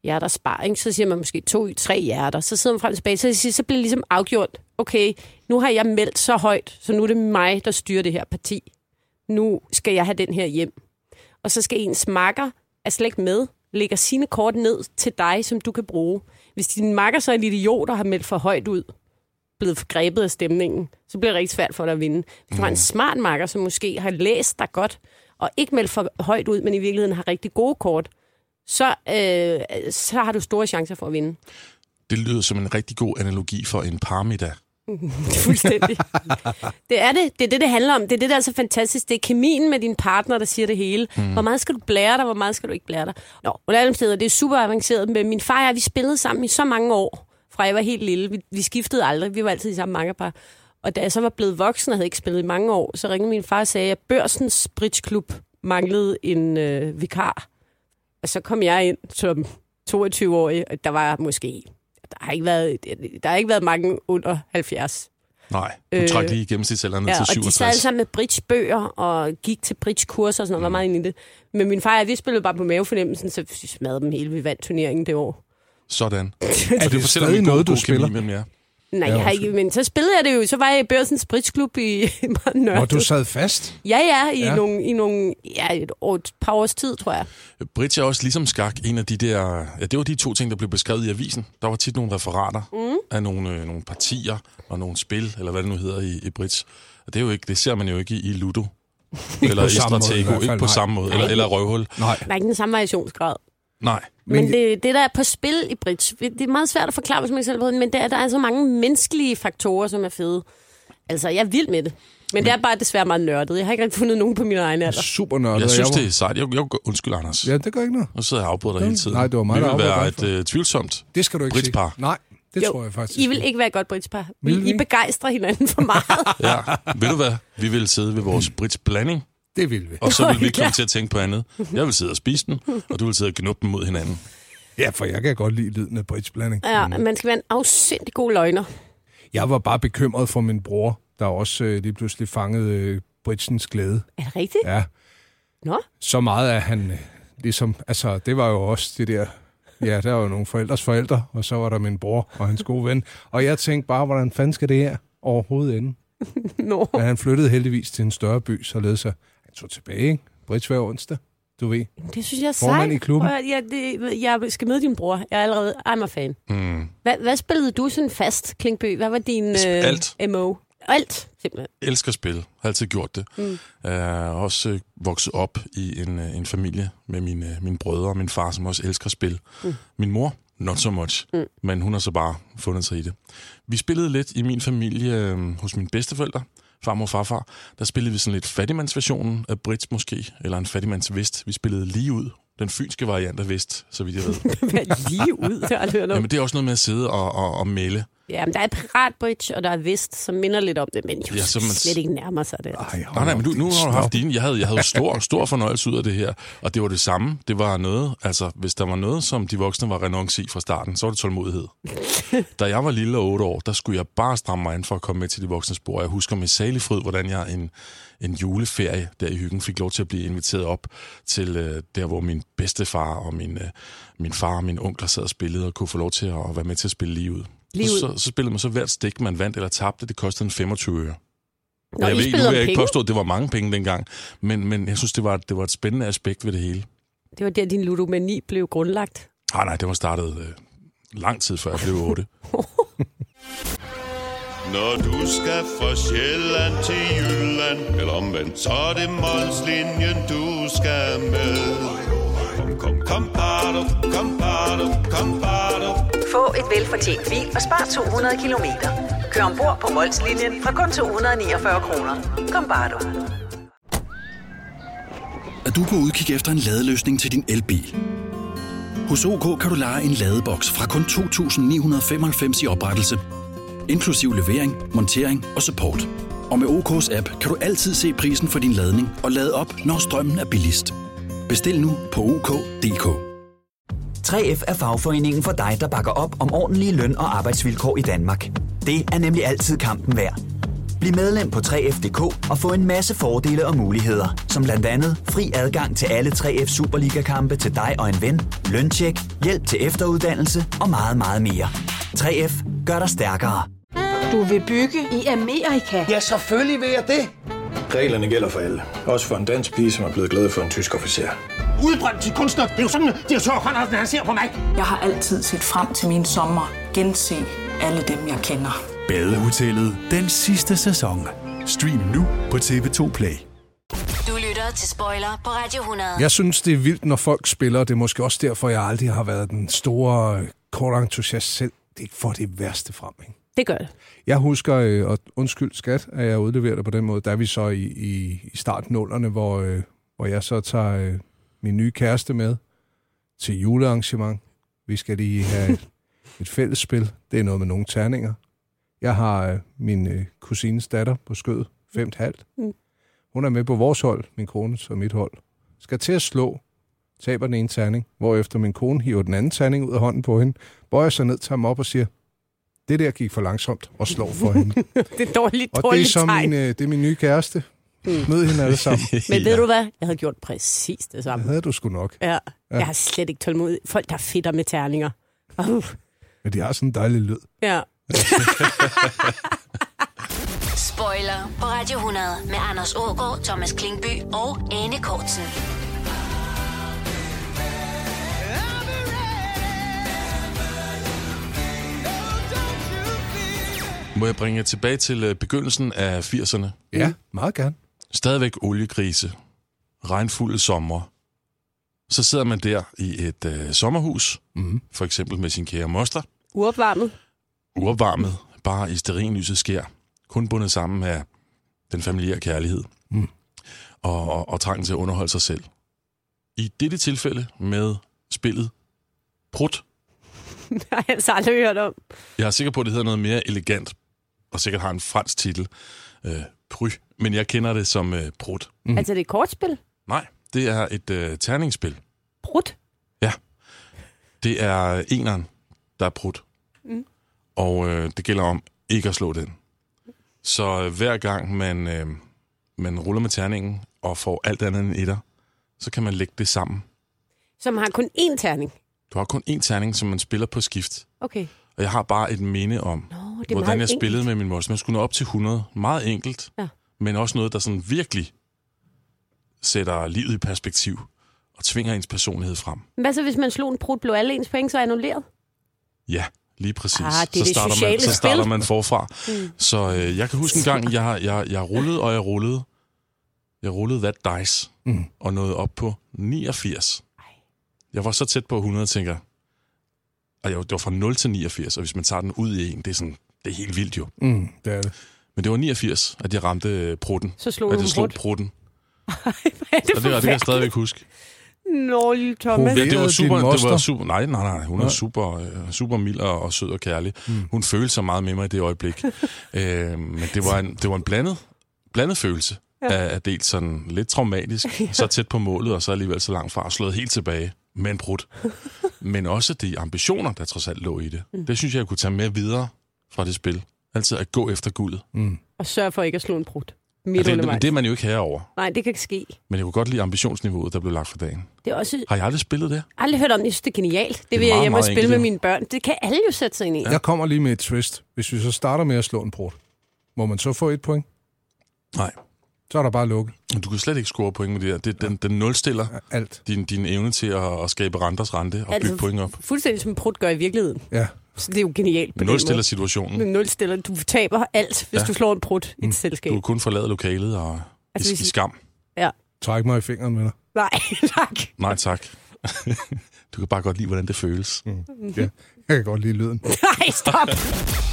Speaker 3: hjerter, spar, ikke? Så siger man måske to, tre hjerter. Så sidder man frem og tilbage, så, siger, så bliver det ligesom afgjort, okay, nu har jeg meldt så højt, så nu er det mig, der styrer det her parti. Nu skal jeg have den her hjem. Og så skal ens makker er slet ikke med, lægger sine kort ned til dig, som du kan bruge. Hvis din makker så er en idiot, der har meldt for højt ud, blevet grebet af stemningen, så bliver det rigtig svært for dig at vinde. Hvis du har en smart makker, som måske har læst dig godt, og ikke meldt for højt ud, men i virkeligheden har rigtig gode kort, så, øh, så har du store chancer for at vinde.
Speaker 4: Det lyder som en rigtig god analogi for en parmiddag.
Speaker 3: Fuldstændig. det er det. Det er det, det handler om. Det er det, der er så fantastisk. Det er kemien med din partner, der siger det hele. Mm. Hvor meget skal du blære dig, hvor meget skal du ikke blære dig? Nå, under alle omstændigheder, det er super avanceret. Men min far og jeg, vi spillede sammen i så mange år, fra jeg var helt lille. Vi, vi skiftede aldrig. Vi var altid i samme makkerpar. Og da jeg så var blevet voksen og havde ikke spillet i mange år, så ringede min far og sagde, at Børsens Bridgeklub manglede en øh, vikar. Og så kom jeg ind som 22-årig, og der var måske... Der har, ikke været, der har ikke været mange under 70.
Speaker 4: Nej, du øh,
Speaker 3: Øh,
Speaker 4: trak lige gennemsnitsalderen ned
Speaker 3: Ja,
Speaker 4: til
Speaker 3: og de sad alle
Speaker 4: 67.
Speaker 3: sammen med bridgebøger og gik til bridgekurser og sådan noget,
Speaker 2: Mm.
Speaker 3: var meget inde i det. Men min far og jeg, vi spillede bare på mavefornemmelsen, så vi smadrede dem hele, vi vandt turneringen det år.
Speaker 4: Sådan.
Speaker 2: Er
Speaker 4: Og
Speaker 2: det
Speaker 4: fortæller om
Speaker 2: stadig
Speaker 4: en god-
Speaker 2: noget, du
Speaker 4: god kemi
Speaker 2: spiller?
Speaker 4: mellem jer.
Speaker 3: Nej,
Speaker 2: Ja,
Speaker 3: jeg har
Speaker 2: undskyld.
Speaker 3: ikke, men så spillede jeg det jo. Så var jeg i Børsens Bridgeklub i Nørre.
Speaker 2: Nå, du sad fast.
Speaker 3: Ja, ja, i,
Speaker 2: Ja.
Speaker 3: ja. Nogle, i nogle, ja, et, år, et par års tid, tror jeg.
Speaker 4: Bridge er også ligesom skak en af de der... Ja, det var de to ting, der blev beskrevet i avisen. Der var tit nogle referater mm. af nogle, øh, nogle partier og nogle spil, eller hvad det nu hedder i, i Bridge. Og det, er jo ikke, det ser man jo ikke i, i Ludo. eller
Speaker 2: på
Speaker 4: i
Speaker 2: samme måde i
Speaker 4: Stratego.
Speaker 2: hvert
Speaker 4: Ikke
Speaker 2: fald,
Speaker 4: på
Speaker 2: nej.
Speaker 4: samme måde. Eller, eller Røvhul.
Speaker 2: Nej.
Speaker 3: Der er ikke den samme variationsgrad.
Speaker 4: Nej.
Speaker 2: Men-
Speaker 3: Men, men det, det, der er på spil i bridge, det er meget svært at forklare, hvis man ikke selv ved det, men det er, der er så mange menneskelige faktorer, som er fede. Altså, jeg er vild med det. Men, men det er bare desværre meget nørdet. Jeg har ikke rigtig fundet nogen på min egen alder.
Speaker 2: Super nørdet.
Speaker 4: Jeg
Speaker 2: og
Speaker 4: synes,
Speaker 2: var-
Speaker 4: det er sejt. Jeg, jeg, undskyld, Anders.
Speaker 2: Ja, det gør ikke noget.
Speaker 4: Nu sidder jeg og afbryder dig
Speaker 2: Nå,
Speaker 4: hele tiden.
Speaker 2: nej, det var mig,
Speaker 4: Vi
Speaker 2: der
Speaker 4: vil være
Speaker 2: afbrød
Speaker 4: et øh, tvivlsomt.
Speaker 2: Det skal du ikke
Speaker 4: Britspar.
Speaker 2: sige. Nej, det
Speaker 3: Jo,
Speaker 2: tror jeg faktisk.
Speaker 3: I vil ikke være et godt bridgepar. I,
Speaker 2: Vil vi?
Speaker 3: I begejstrer hinanden for meget.
Speaker 4: Ja. Ved du hvad? Vi vil sidde ved vores Brits blanding,
Speaker 2: Det vil vi.
Speaker 4: og så vil vi ikke
Speaker 3: Ja.
Speaker 4: komme til at tænke på andet. Jeg vil sidde og spise den, og du vil sidde og knuppe den mod hinanden.
Speaker 2: Ja, for jeg kan godt lide lyden af bridgeblanding.
Speaker 3: ja, man skal være en afsindig god løgner.
Speaker 2: Jeg var bare bekymret for min bror, der også øh, lige pludselig fangede øh, Britsens glæde.
Speaker 3: Er det rigtigt?
Speaker 2: Ja,
Speaker 3: Nå?
Speaker 2: så meget at han øh, ligesom... Altså, det var jo også det der... Ja, der var jo nogle forældres forældre, og så var der min bror og hans gode ven. Og jeg tænkte bare, hvordan fanden skal det her overhovedet ende?
Speaker 3: Nå.
Speaker 2: Men han flyttede heldigvis til en større by, således at han tog tilbage, ikke? Brits hver onsdag, du ved.
Speaker 3: Det synes jeg er sejt.
Speaker 2: Formand i klubben.
Speaker 3: Prøv at- Jeg, det, jeg skal møde din bror. Jeg er allerede... I'm a fan.
Speaker 4: Mm.
Speaker 3: Hvad, hvad spillede du sådan fast, Klingby? Hvad var din øh,
Speaker 4: Alt.
Speaker 3: MO? Alt, simpelthen.
Speaker 4: elsker spil. Har altid gjort det. Mm. Uh, også øh, vokset op i en, øh, en familie med mine, øh, mine brødre og min far, som også elsker spil. Mm. Min mor, not so much, mm. men hun har så bare fundet sig i det. Vi spillede lidt i min familie øh, hos mine bedsteforældre, farmor og farfar. Der spillede vi sådan lidt fattigmandsversionen af Brits måske, eller en fattigmandsvest. Vi spillede lige ud. Den fynske variant af vest, så vidt jeg ved.
Speaker 3: Vær lige ud, det har jeg aldrig hørt om.
Speaker 4: Jamen, det er også noget med at sidde og, og, og melde.
Speaker 3: Ja, men der er Piratbridge, og der er Vest, som minder lidt om det, men jo,
Speaker 4: Ja,
Speaker 3: ja,
Speaker 4: så
Speaker 3: som
Speaker 4: man-
Speaker 3: slet ikke nærmer sig det. Altså.
Speaker 2: Ej, hold
Speaker 4: Nej, nej,
Speaker 2: op,
Speaker 4: men du, nu
Speaker 2: din
Speaker 4: har du haft
Speaker 2: snob.
Speaker 4: dine. Jeg havde, jeg havde jo stor, stor fornøjelse ud af det her, og det var det samme. Det var noget, altså hvis der var noget, som de voksne var renonce i fra starten, så var det tålmodighed. da jeg var lille og otte år, der skulle jeg bare stramme mig an for at komme med til de voksne spor. Jeg husker med salig fryd, hvordan jeg en, en juleferie der i hyggen fik lov til at blive inviteret op til øh, der, hvor min bedstefar og min, øh, min far og min onkler sad og spillede og kunne få lov til at, at være med til at spille lige ud.
Speaker 3: Lige
Speaker 4: Så,
Speaker 3: ud.
Speaker 4: så, så spillede man så hvert stik, man vandt eller tabte. Det kostede en 25 øre.
Speaker 3: Nå,
Speaker 4: Og jeg
Speaker 3: I
Speaker 4: ved, nu
Speaker 3: spillede
Speaker 4: vil
Speaker 3: om
Speaker 4: jeg ikke
Speaker 3: penge.
Speaker 4: påstå, at det var mange penge dengang, men, men jeg synes, det var, det var et spændende aspekt ved det hele.
Speaker 3: Det var der, din ludomani blev grundlagt.
Speaker 4: Nej, nej, det var startet øh, lang tid før jeg blev 8.
Speaker 5: Når du skal fra Sjælland til Jylland Eller omvendt, så er det Molslinjen, du skal med Kom, kom, kom, bado, kom, bado, kom, bado.
Speaker 6: Få et velfortjent bil og spar 200 kilometer. Kør ombord på Molslinjen fra kun 249 kroner. Kom bare du.
Speaker 7: er du på udkig efter en ladeløsning til din elbil. Hos OK kan du lege en ladeboks fra kun 2.995 i oprettelse, inklusiv levering, montering og support. Og med OK's app kan du altid se prisen for din ladning og lade op, når strømmen er billigst. Bestil nu på OK.dk.
Speaker 8: 3F er fagforeningen for dig, der bakker op om ordentlige løn- og arbejdsvilkår i Danmark. Det er nemlig altid kampen værd. Bliv medlem på 3F.dk og få en masse fordele og muligheder, som blandt andet fri adgang til alle 3F Superliga-kampe til dig og en ven, løntjek, hjælp til efteruddannelse og meget, meget mere. 3F gør dig stærkere.
Speaker 9: Du vil bygge i Amerika?
Speaker 10: Ja, selvfølgelig vil jeg det.
Speaker 11: Reglerne gælder for alle. Også for en dansk pige, som er blevet glad for en tysk officer.
Speaker 10: Udbrændt til kunstner. Det er jo sådan, at de har tørt, han ser på mig.
Speaker 9: Jeg har altid set frem til min sommer. Gense alle dem, jeg kender.
Speaker 12: Badehotellet den sidste sæson. Stream nu på TV2 Play.
Speaker 1: Du lytter til Spoiler på Radio 100.
Speaker 2: Jeg synes, det er vildt, når folk spiller, og det er måske også derfor, jeg aldrig har været den store øh, kortentusiast selv. Det får det værste frem, ikke?
Speaker 3: Det gør det.
Speaker 2: Jeg husker, øh, og undskyld skat, at jeg udleverer det på den måde, der er vi så i, i, i startnullerne, hvor, øh, hvor jeg så tager øh, min nye kæreste med til julearrangement. Vi skal lige have et, et fællesspil. Det er noget med nogle terninger. Jeg har øh, min øh, kusines datter på skød, femt halvt. Hun er med på vores hold, min kone og mit hold. Skal til at slå, taber den ene terning, hvorefter min kone hiver den anden terning ud af hånden på hende, bøjer sig ned, tager mig op og siger, det der gik for langsomt og slår for hende.
Speaker 3: Det er
Speaker 2: Og det
Speaker 3: dårligt,
Speaker 2: er
Speaker 3: dårligt
Speaker 2: så
Speaker 3: tegn.
Speaker 2: min, øh, det er min nye kæreste.
Speaker 4: Hmm.
Speaker 2: Mød hende alle sammen.
Speaker 3: Men ved du hvad? Jeg havde gjort præcis det
Speaker 2: Det
Speaker 3: samme.
Speaker 2: havde du sgu nok.
Speaker 3: Ja. Jeg har slet ikke tålmodighed. Folk, der fitter med terninger. Uh,
Speaker 2: Men de har sådan en dejlig lyd.
Speaker 3: ja.
Speaker 1: Spoiler på Radio 100 med Anders Ågaard, Thomas Klingby og Anne Kortsen.
Speaker 4: Må jeg bringe jer tilbage til øh, begyndelsen af 80'erne?
Speaker 2: Ja, meget gerne.
Speaker 4: Stadigvæk oliekrise. Regnfulde sommer. Så sidder man der i et øh, sommerhus,
Speaker 3: Mhm.
Speaker 4: mm-hmm. for eksempel med sin kære moster,
Speaker 3: Uopvarmet.
Speaker 4: uopvarmet, bare i sterinlyset sker, kun bundet sammen af den familiære kærlighed
Speaker 2: Mm.
Speaker 4: og, og, og trangen til at underholde sig selv. I dette tilfælde med spillet Prut.
Speaker 3: Det har jeg altså aldrig hørt om.
Speaker 4: Jeg er sikker på, at det hedder noget mere elegant, og sikkert har en fransk titel, øh, Pry, men jeg kender det som øh, Prut.
Speaker 3: Mm. Altså, det er et kortspil.
Speaker 4: Nej, det er et øh, terningsspil.
Speaker 3: Prut.
Speaker 4: Ja. Det er eneren, der er brudt.
Speaker 3: Mm.
Speaker 4: Mm. Og øh, det gælder om ikke at slå den. Så øh, hver gang man, øh, man ruller med terningen og får alt andet end etter, så kan man lægge det sammen.
Speaker 3: Som har kun én terning.
Speaker 4: Du har kun én terning, som man spiller på skift.
Speaker 3: Okay.
Speaker 4: Og jeg har bare et minde om,
Speaker 3: Nå, det er
Speaker 4: hvordan
Speaker 3: meget
Speaker 4: jeg spillede med min moster. Man skulle nå op til 100. Meget enkelt,
Speaker 3: Ja.
Speaker 4: men også noget, der sådan virkelig sætter livet i perspektiv og tvinger ens personlighed frem.
Speaker 3: enkelt. Hvad så, hvis man slog en prut, blev alle ens point så annulleret?
Speaker 4: Ja, lige præcis.
Speaker 3: Ah, det er det
Speaker 4: så, starter
Speaker 3: sociale
Speaker 4: man, så starter
Speaker 3: spil.
Speaker 4: man forfra.
Speaker 3: Mm.
Speaker 4: Så øh, jeg kan huske en gang, jeg, jeg, jeg rullede og jeg rullede. Jeg rullede that dice
Speaker 2: Mm.
Speaker 4: og nåede op på 89. Jeg var så tæt på 100, tænker jeg. Og jeg. Det var fra 0 til 89, og hvis man tager den ud i en, det er, sådan, det er helt vildt jo.
Speaker 2: Mm, det er det.
Speaker 4: Men det var 89, at jeg ramte øh, prutten.
Speaker 3: Så slog
Speaker 4: at
Speaker 3: du
Speaker 4: jeg slog
Speaker 3: prut.
Speaker 4: prutten.
Speaker 3: Er det
Speaker 4: Og det, og det kan jeg stadigvæk huske.
Speaker 3: Nå, lille Thomas.
Speaker 4: Ja, det var
Speaker 2: Proverede
Speaker 4: super,
Speaker 2: din
Speaker 4: det var
Speaker 2: moster?
Speaker 4: super, nej, nej, nej, hun er
Speaker 2: Nej.
Speaker 4: super, øh, super mild og, og sød og kærlig. Mm. Hun følte sig meget med mig i det øjeblik. øh, men det var en, det var en blandet, blandet følelse. Ja. Af, af dels sådan lidt traumatisk, ja. så tæt på målet, og så alligevel så langt fra, og slået helt tilbage med en brud. men også de ambitioner, der trods alt lå i det. Mm. Det synes jeg, jeg kunne tage med videre fra det spil. Altid at gå efter guldet.
Speaker 2: Mm.
Speaker 3: Og sørg for ikke at slå en prut.
Speaker 4: Ja,
Speaker 3: Midt
Speaker 4: Altså, det,
Speaker 3: undervejs.
Speaker 4: men det er man jo ikke herover.
Speaker 3: Nej, det kan ikke ske.
Speaker 4: Men jeg kunne godt lide ambitionsniveauet, der blev lagt for dagen.
Speaker 3: Det er også
Speaker 4: Har jeg aldrig spillet det?
Speaker 3: aldrig hørt om. det. Jeg synes, det er genialt. Det, det
Speaker 4: er
Speaker 3: vil jeg
Speaker 4: meget,
Speaker 3: hjemme og
Speaker 4: meget
Speaker 3: spille
Speaker 4: enkelt,
Speaker 3: med
Speaker 4: jo.
Speaker 3: mine børn. Det kan alle jo sætte sig ind i.
Speaker 2: Jeg kommer lige med et twist. Hvis vi så starter med at slå en brud, må man så få et point?
Speaker 4: Nej.
Speaker 2: Så er der bare lukket.
Speaker 4: Men Du kan slet ikke score point med det her. Det, den, den nulstiller
Speaker 2: alt.
Speaker 4: Din, din evne til at, at skabe renters rente og
Speaker 3: Altså,
Speaker 4: altså, bygge point op.
Speaker 3: Fuldstændig som prut gør i virkeligheden.
Speaker 2: Ja.
Speaker 3: Så det er jo genialt på
Speaker 4: Nulstiller
Speaker 3: den
Speaker 4: situationen.
Speaker 3: måde. Nul stiller. Du taber alt, hvis ja.
Speaker 4: Ja.
Speaker 3: du slår en prut i et selskab.
Speaker 4: Du kan kun forlade lokalet og
Speaker 3: Altså,
Speaker 4: altså, i,
Speaker 3: hvis-
Speaker 4: i skam.
Speaker 3: Ja.
Speaker 2: Træk mig i fingeren med dig.
Speaker 3: Nej, tak.
Speaker 4: Nej, tak. du kan bare godt lide, hvordan det føles. Mm.
Speaker 2: Ja. Jeg kan godt lide lyden.
Speaker 3: Nej, stop.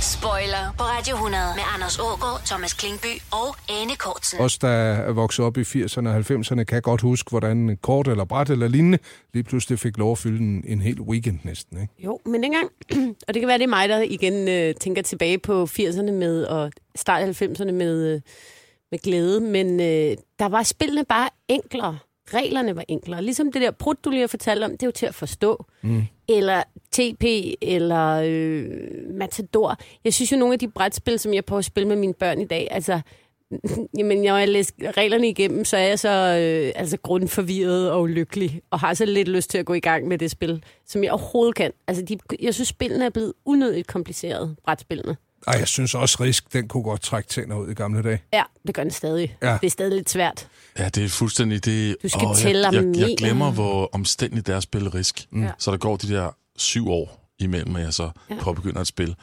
Speaker 1: Spoiler på Radio 100 med Anders Ågaard, Thomas Klingby og Anne Kortsen.
Speaker 2: Os, der er vokset op i 80'erne og 90'erne, kan godt huske, hvordan kort eller bræt eller lignende lige pludselig fik lov at fylde en, en hel weekend næsten. Ikke?
Speaker 3: Jo, men dengang, og det kan være, det er mig, der igen øh, tænker tilbage på 80'erne med, og start 90'erne med, øh, med glæde, men øh, der var spillene bare enklere. Reglerne var enklere. Ligesom det der prut, du lige har fortalt om, det er jo til at forstå.
Speaker 13: Mm.
Speaker 3: Eller TP, eller øh, Matador. Jeg synes jo, nogle af de brætspil, som jeg prøver at spille med mine børn i dag, altså, jamen, når jeg læser reglerne igennem, så er jeg så øh, altså grundforvirret og ulykkelig, og har så lidt lyst til at gå i gang med det spil, som jeg overhovedet kan. Altså, de, jeg synes, spillene er blevet unødigt komplicerede, brætspillene.
Speaker 2: Ej, jeg synes også, Risk, den kunne godt trække tænder ud i gamle dage.
Speaker 3: Ja, det gør den stadig.
Speaker 2: Ja.
Speaker 3: Det er stadig lidt svært.
Speaker 4: Ja, det er fuldstændig det.
Speaker 3: Du skal
Speaker 4: Åh,
Speaker 3: tælle
Speaker 4: jeg, jeg,
Speaker 3: armenier.
Speaker 4: jeg glemmer, hvor omstændigt det er at spille risk.
Speaker 3: Mm.
Speaker 4: Mm.
Speaker 3: Ja.
Speaker 4: Så der går de der syv år imellem, at jeg så
Speaker 3: Ja.
Speaker 4: ja. påbegynder et spil.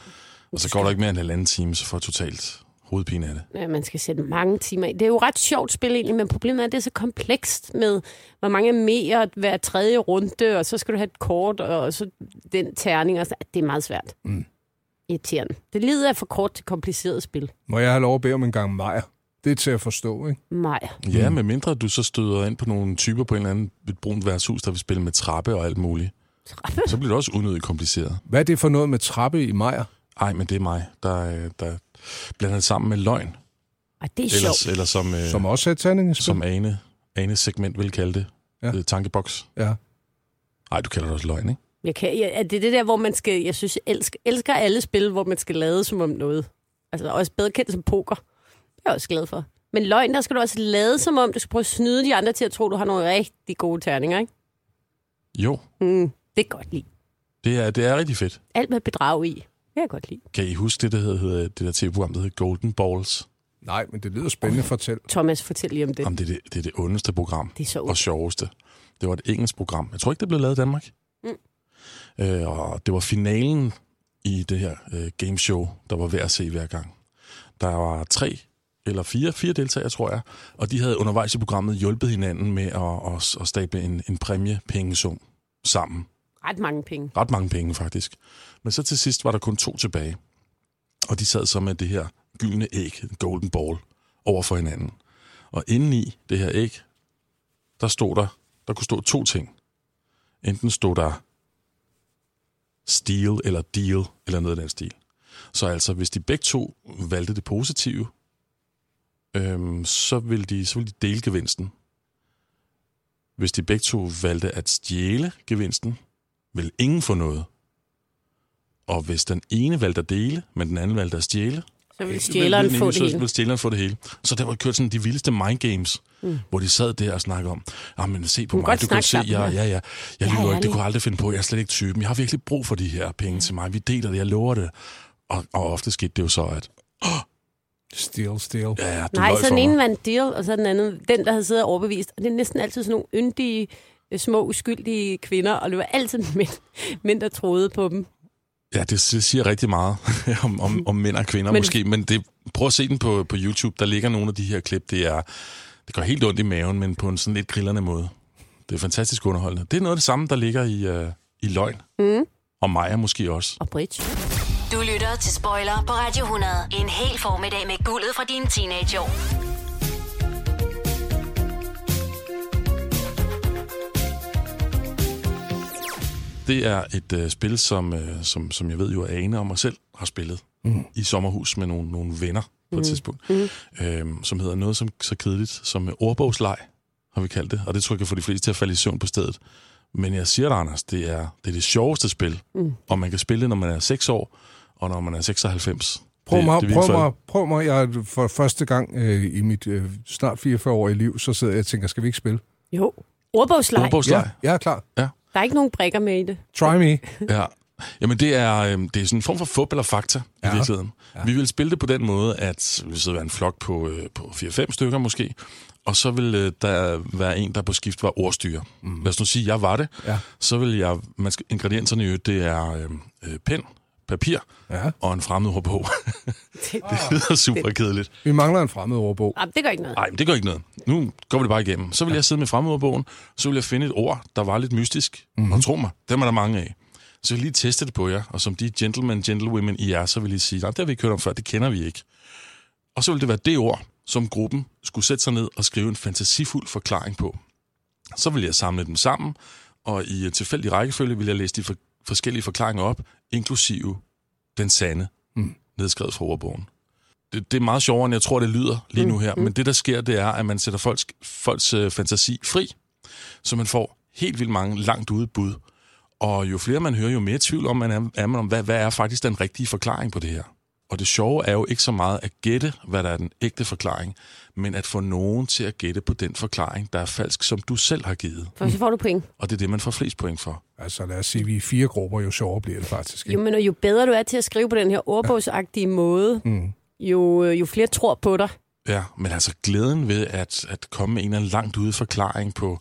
Speaker 4: Og så går der ikke mere end halvanden time, så får jeg totalt hovedpine af det.
Speaker 3: Ja, man skal sætte mange timer i. Det er jo ret sjovt spil egentlig, men problemet er, at det er så komplekst med, hvor mange mere hver tredje runde, og så skal du have et kort, og så den terning. Og så, det er meget svært.
Speaker 2: Mm.
Speaker 3: Irriterende. Det lider af for kort til kompliceret spil.
Speaker 2: Må jeg have lov at bede om en gang Majer? Det er til at forstå, ikke?
Speaker 3: Nej.
Speaker 4: Ja, med mindre du så støder ind på nogle typer på en eller anden et brunt værtshus, der vil spille med trappe og alt muligt.
Speaker 3: Trappe?
Speaker 4: Så bliver det også unødigt kompliceret.
Speaker 2: Hvad er det for noget med trappe i Majer?
Speaker 4: Ej, men det er mig, der, øh, der blander det sammen med løgn.
Speaker 3: Ej, det er
Speaker 4: Ellers,
Speaker 3: sjovt.
Speaker 4: eller som, øh,
Speaker 2: Som også er et sandingespil?
Speaker 4: som Ane, Ane segment vil kalde det.
Speaker 2: Ja.
Speaker 4: Ja. Øh, tankeboks.
Speaker 2: Ja.
Speaker 4: Ej, du kalder det også løgn, ikke?
Speaker 3: Jeg kan, jeg, er det det der, hvor man skal... Jeg synes, jeg elsker, elsker alle spil, hvor man skal lade som om noget. Altså også bedre kendt som poker. Det er jeg også glad for. Men løgn, der skal du også lade som om, du skal prøve at snyde de andre til at tro, du har nogle rigtig gode terninger, ikke?
Speaker 4: Jo,
Speaker 3: Mm, det er godt lige.
Speaker 4: det er, det er rigtig fedt.
Speaker 3: Alt med bedrag i. kan jeg godt lide.
Speaker 4: Kan I huske det, der hedder, hedder- det der tv-program, der hedder Golden Balls?
Speaker 2: Nej, men det lyder spændende. Fortæl.
Speaker 3: Thomas, fortæl lige om det.
Speaker 4: Jamen, det, er det, det er det ondeste program.
Speaker 3: Det er så ondt.
Speaker 4: og sjoveste. Det var et engelsk program. Jeg tror ikke, det blev lavet i Danmark.
Speaker 3: Mm.
Speaker 4: Øh, og det var finalen i det her øh, gameshow, der var værd at se hver gang. Der var tre eller fire, fire deltagere, tror jeg, og de havde undervejs i programmet hjulpet hinanden med at, at, at stable en, en præmiepengesum sammen.
Speaker 3: Ret mange penge.
Speaker 4: Ret mange penge, faktisk. Men så til sidst var der kun to tilbage. Og de sad så med det her gyldne æg, en golden ball, over for hinanden. Og indeni det her æg, der stod der, der kunne stå to ting. Enten stod der steal eller deal, eller noget af den stil. Så altså, hvis de begge to valgte det positive, øhm, så, ville de, så ville de dele gevinsten. Hvis de begge to valgte at stjæle gevinsten, vil ingen få noget. Og hvis den ene valgte at dele, men den anden valgte at stjæle,
Speaker 3: Så vil stjæleren
Speaker 4: vil- vil-
Speaker 3: få
Speaker 4: vil-
Speaker 3: det hele.
Speaker 4: Så vil stjæleren få det hele. Så der var kørt sådan de vildeste mindgames,
Speaker 3: Mm.
Speaker 4: mm. hvor de sad der og snakkede om, ah, men se på
Speaker 3: Du kan
Speaker 4: mig,
Speaker 3: godt
Speaker 4: du kan
Speaker 3: snakke
Speaker 4: se, jeg,
Speaker 3: sammen,
Speaker 4: ja, ja, jeg
Speaker 3: Ja,
Speaker 4: lyver
Speaker 3: ja,
Speaker 4: ikke, det
Speaker 3: lige.
Speaker 4: kunne jeg aldrig finde på, jeg er slet ikke typen, jeg har virkelig brug for de her penge til mig, vi deler det, jeg lover det. Og, og ofte skete det jo så, at
Speaker 2: Steal, steal.
Speaker 4: ja, ja, du
Speaker 3: Nej,
Speaker 4: løj
Speaker 3: så
Speaker 4: for
Speaker 3: den ene
Speaker 4: mig.
Speaker 3: var en deal, og så den anden, den der havde siddet og overbevist. Og det er næsten altid sådan nogle yndige, øh, små, uskyldige kvinder, og det var altid mænd, mænd der troede på dem.
Speaker 4: Ja, det, det siger rigtig meget om, om, om mænd og kvinder
Speaker 3: Men-
Speaker 4: men, måske, men det, prøv at se den på, på YouTube, der ligger nogle af de her klip, det er, det går helt ondt i maven, men på en sådan lidt grillerne måde. Det er fantastisk underholdende. Det er noget af det samme, der ligger i, øh, i løgn,
Speaker 1: Mm.
Speaker 4: og Maja måske også.
Speaker 3: Og bridge.
Speaker 1: Du lytter til Spoiler på Radio 100. En hel formiddag med guldet fra dine teenageår.
Speaker 4: Det er et øh, spil, som, øh, som, som jeg ved jo, at Ane og mig selv har spillet
Speaker 2: Mm.
Speaker 4: mm. i sommerhus med nogle, nogle venner på mm.
Speaker 2: Mm.
Speaker 4: et tidspunkt,
Speaker 2: Mm.
Speaker 4: øhm, som hedder noget som, så kedeligt som øh, ordbogsleg, har vi kaldt det, og det tror jeg kan få de fleste til at falde i søvn på stedet. Men jeg siger dig, Anders, det er det, er det sjoveste spil,
Speaker 2: Mm.
Speaker 4: mm. og man kan spille det, når man er 6 år, og når man er 96.
Speaker 2: Prøv
Speaker 4: Det-
Speaker 2: mig,
Speaker 4: det er
Speaker 2: prøv
Speaker 4: virkelig-
Speaker 2: mig, prøv mig. Jeg, for første gang øh, i mit øh, snart 44-årige liv, så sidder jeg og tænker, skal vi ikke spille?
Speaker 3: Jo. Ordbogslej.
Speaker 2: Ja, jeg er klar.
Speaker 3: Der er ikke nogen brikker med i det.
Speaker 2: Try me.
Speaker 4: Ja. Jamen, det er, øh, det er sådan en form for fup eller fakta ja.
Speaker 2: Ja.
Speaker 4: i virkeligheden. Ja. Vi vil spille det på den måde, at vi sidder være en flok på, øh, på 4-5 stykker måske, og så vil øh, der være en, der på skift var ordstyre. Mm. Lad os nu sige, jeg var det.
Speaker 2: Mhm. Ja.
Speaker 4: Så vil jeg... Man skal, ingredienserne i øvrigt, det er øh, øh, pind, papir
Speaker 2: ja.
Speaker 4: og en fremmed ordbog.
Speaker 3: det
Speaker 4: lyder super kedeligt.
Speaker 2: Vi mangler en fremmed ordbog.
Speaker 3: Jamen, det gør ikke noget.
Speaker 4: Nej, men det gør ikke noget. Nu går vi det bare igennem. Så vil jeg sidde med fremmedordbogen, så vil jeg finde et ord, der var lidt mystisk. Mm-hmm. Og tro mig, dem er der mange af. Så vil jeg lige teste det på jer, og som de gentlemen, gentlewomen I er, så vil I sige, nej, det har vi ikke hørt om før, det kender vi ikke. Og så vil det være det ord, som gruppen skulle sætte sig ned og skrive en fantasifuld forklaring på. Så vil jeg samle dem sammen, og i en tilfældig rækkefølge vil jeg læse de for- forskellige forklaringer op, inklusive den sande,
Speaker 2: Mm.
Speaker 4: nedskrevet fra ordbogen det, det er meget sjovere, end jeg tror, det lyder lige nu her. Men det, der sker, det er, at man sætter folks, folks øh, fantasi fri, så man får helt vildt mange langt ude bud. Og jo flere man hører, jo mere tvivl om man er, er man om, hvad, hvad er faktisk den rigtige forklaring på det her. Og det sjove er jo ikke så meget at gætte, hvad der er den ægte forklaring, men at få nogen til at gætte på den forklaring, der er falsk, som du selv har givet.
Speaker 3: For så får du point.
Speaker 4: Og det er det, man får flest point for.
Speaker 2: Altså lad os sige, vi er fire grupper, jo sjovere bliver det faktisk.
Speaker 3: Jo, men og jo bedre du er til at skrive på den her ordbogsagtige måde,
Speaker 2: Mm.
Speaker 3: jo, øh, jo flere tror på dig.
Speaker 4: Ja, men altså glæden ved at, at komme med en eller anden langt ude forklaring på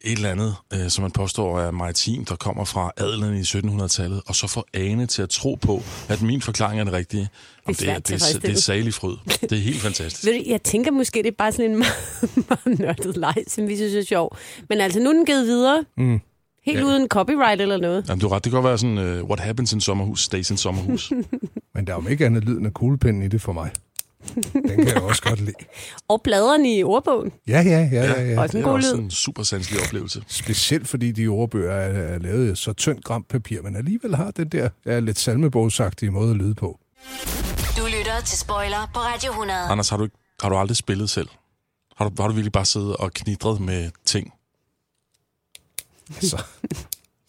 Speaker 4: et eller andet, øh, som man påstår er maritim, der kommer fra adelen i 1700-tallet, og så få Ane til at tro på, at min forklaring er den rigtige. Om
Speaker 3: svært
Speaker 4: det, er, det, er,
Speaker 3: tilfredsstillende.
Speaker 4: det er salig fryd. Det er helt fantastisk.
Speaker 3: Ved du, jeg tænker måske, det er bare sådan en meget, meget nørdet leg, som vi synes er sjov. Men altså, nu er den givet videre.
Speaker 4: Mm.
Speaker 3: Helt
Speaker 4: Ja.
Speaker 3: uden copyright eller noget.
Speaker 4: Jamen, du har ret. Det kan godt være sådan, uh, what happens in sommerhus, stays in sommerhus.
Speaker 2: Men der er jo ikke andet lyden af kuglepinden i det for mig. Den kan jeg også godt lide.
Speaker 3: Og bladrene i ordbogen.
Speaker 2: Ja, ja, ja. ja, ja.
Speaker 3: Også en Det er god også lyd.
Speaker 4: en super sanselig oplevelse.
Speaker 2: Specielt fordi de ordbøger er, er lavet af så tyndt gram papir, men alligevel har den der ja, lidt salmebogsagtige måde at lyde på.
Speaker 1: Du lytter til Spoiler på Radio 100.
Speaker 4: Anders, har du, ikke- har du aldrig spillet selv? Har du, har du virkelig bare siddet og knitret med ting?
Speaker 2: Altså,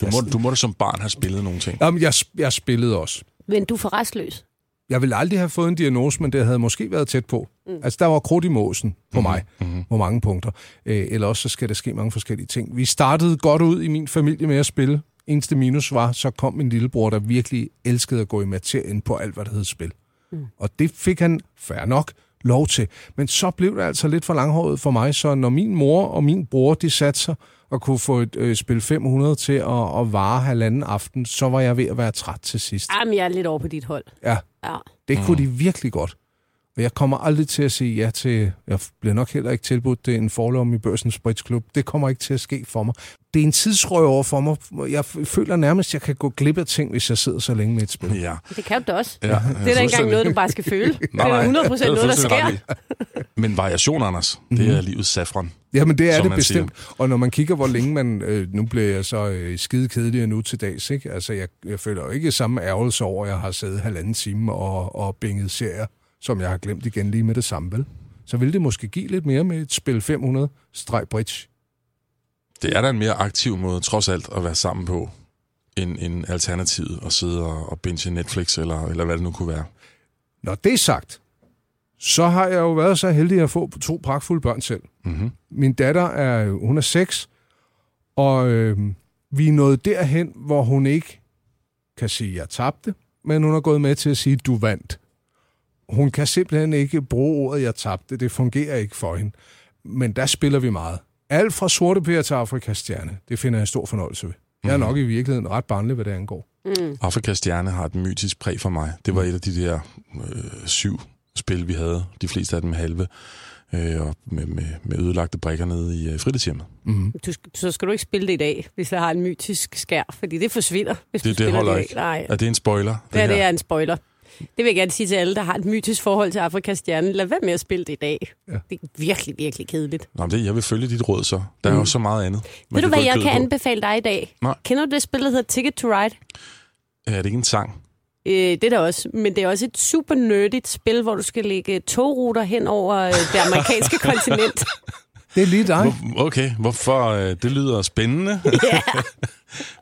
Speaker 4: Du må, du må da som barn have spillet nogle ting.
Speaker 2: Jamen, jeg, sp- jeg spillede også.
Speaker 3: Men du er for restløs.
Speaker 2: Jeg ville aldrig have fået en diagnose, men det havde måske været tæt på. Mm. Altså, der var krudt i måsen på mig, mm-hmm. på mange punkter. Øh, eller også så skal der ske mange forskellige ting. Vi startede godt ud i min familie med at spille Eneste minus var, så kom min lillebror, der virkelig elskede at gå i materien på alt, hvad der hed spil. Mm. Og det fik han, fair nok, lov til. Men så blev det altså lidt for langhåret for mig, så når min mor og min bror, de satte sig og kunne få et øh, spil 500 til at, at vare halvanden aften, så var jeg ved at være træt til sidst.
Speaker 3: Jamen, jeg er lidt over på dit hold.
Speaker 2: Ja,
Speaker 3: Ja.
Speaker 2: det kunne
Speaker 4: Mm.
Speaker 2: de virkelig godt. Og jeg kommer aldrig til at sige ja til, jeg bliver nok heller ikke tilbudt det en forlom i Børsens Britsklub. Det kommer ikke til at ske for mig. Det er en tidsrøver for mig. Jeg f- føler nærmest, at jeg kan gå glip af ting, hvis jeg sidder så længe med et spil.
Speaker 4: Ja.
Speaker 3: Det kan du da også.
Speaker 4: Ja,
Speaker 3: Ja, det er da ikke engang
Speaker 4: fuldstændig.
Speaker 3: noget, du bare skal føle. det er da 100
Speaker 4: det er
Speaker 3: procent
Speaker 4: du
Speaker 3: noget, der
Speaker 4: fuldstændig
Speaker 3: sker.
Speaker 4: ret i. Men variation, Anders, det er livets saffron.
Speaker 2: Jamen, det er
Speaker 4: som
Speaker 2: det
Speaker 4: man siger.
Speaker 2: bestemt. Siger. Og når man kigger, hvor længe man... Øh, nu bliver jeg så øh, skide kedelig nu til dags, ikke? Altså, jeg, jeg føler jo ikke samme ærgelse over, at jeg har siddet halvanden time og, og binget serier, som jeg har glemt igen lige med det samme, vel? Så ville det måske give lidt mere med et spil 500-bridge.
Speaker 4: Det er da en mere aktiv måde, trods alt, at være sammen på, end, end alternativet at sidde og, og binge Netflix, eller, eller hvad det nu kunne være.
Speaker 3: Mm.
Speaker 2: Når det er sagt, så har jeg jo været så heldig at få to pragtfulde børn selv.
Speaker 4: Mm-hmm.
Speaker 2: Min datter er, hun er 6, og øh, vi er nået derhen, hvor hun ikke kan sige, jeg tabte, men hun er gået med til at sige, du vandt. Hun kan simpelthen ikke bruge ordet, jeg tabte. Det fungerer ikke for hende. Men der spiller vi meget. Alt fra sorte pære til Afrikas stjerne. Det finder jeg stor fornøjelse ved. Jeg er
Speaker 4: Mhm.
Speaker 2: nok i virkeligheden ret barnlig, hvad det angår.
Speaker 3: Mm.
Speaker 4: Afrikas Stjerne har et mytisk præg for mig. Det var et af de der øh, syv spil, vi havde. De fleste af dem halve. Øh, og med, med, med ødelagte brikker nede i øh, fritidshjemmet.
Speaker 2: Mm.
Speaker 3: Du, sk- så skal du ikke spille det i dag, hvis der har en mytisk skær, fordi det forsvinder, hvis du
Speaker 4: Det, det
Speaker 3: spiller
Speaker 4: holder
Speaker 3: det i
Speaker 4: ikke.
Speaker 3: dag. Nej.
Speaker 4: Er det en spoiler?
Speaker 3: Det, her, det
Speaker 4: her?
Speaker 3: er en spoiler. Det vil jeg gerne sige til alle, der har et mytisk forhold til Afrikas stjerne. Lad være med at spille det i dag. Ja. Det er virkelig, virkelig kedeligt.
Speaker 4: Nå, men det, jeg vil følge dit råd så. Der er jo så meget andet. man
Speaker 3: Mm. Ved du,
Speaker 4: kan
Speaker 3: hvad
Speaker 4: gå i
Speaker 3: jeg
Speaker 4: kødet
Speaker 3: kan
Speaker 4: på.
Speaker 3: anbefale dig i dag?
Speaker 4: Nej.
Speaker 3: Kender du det spil, der hedder Ticket to Ride?
Speaker 4: Er det ikke en sang?
Speaker 3: Øh, det er der også, men det er også et super nerdigt spil, hvor du skal lægge øh, togruter hen over øh, det amerikanske kontinent.
Speaker 2: Det er lige dig.
Speaker 4: Hvor, okay, hvorfor? Øh, det lyder spændende.
Speaker 3: Ja.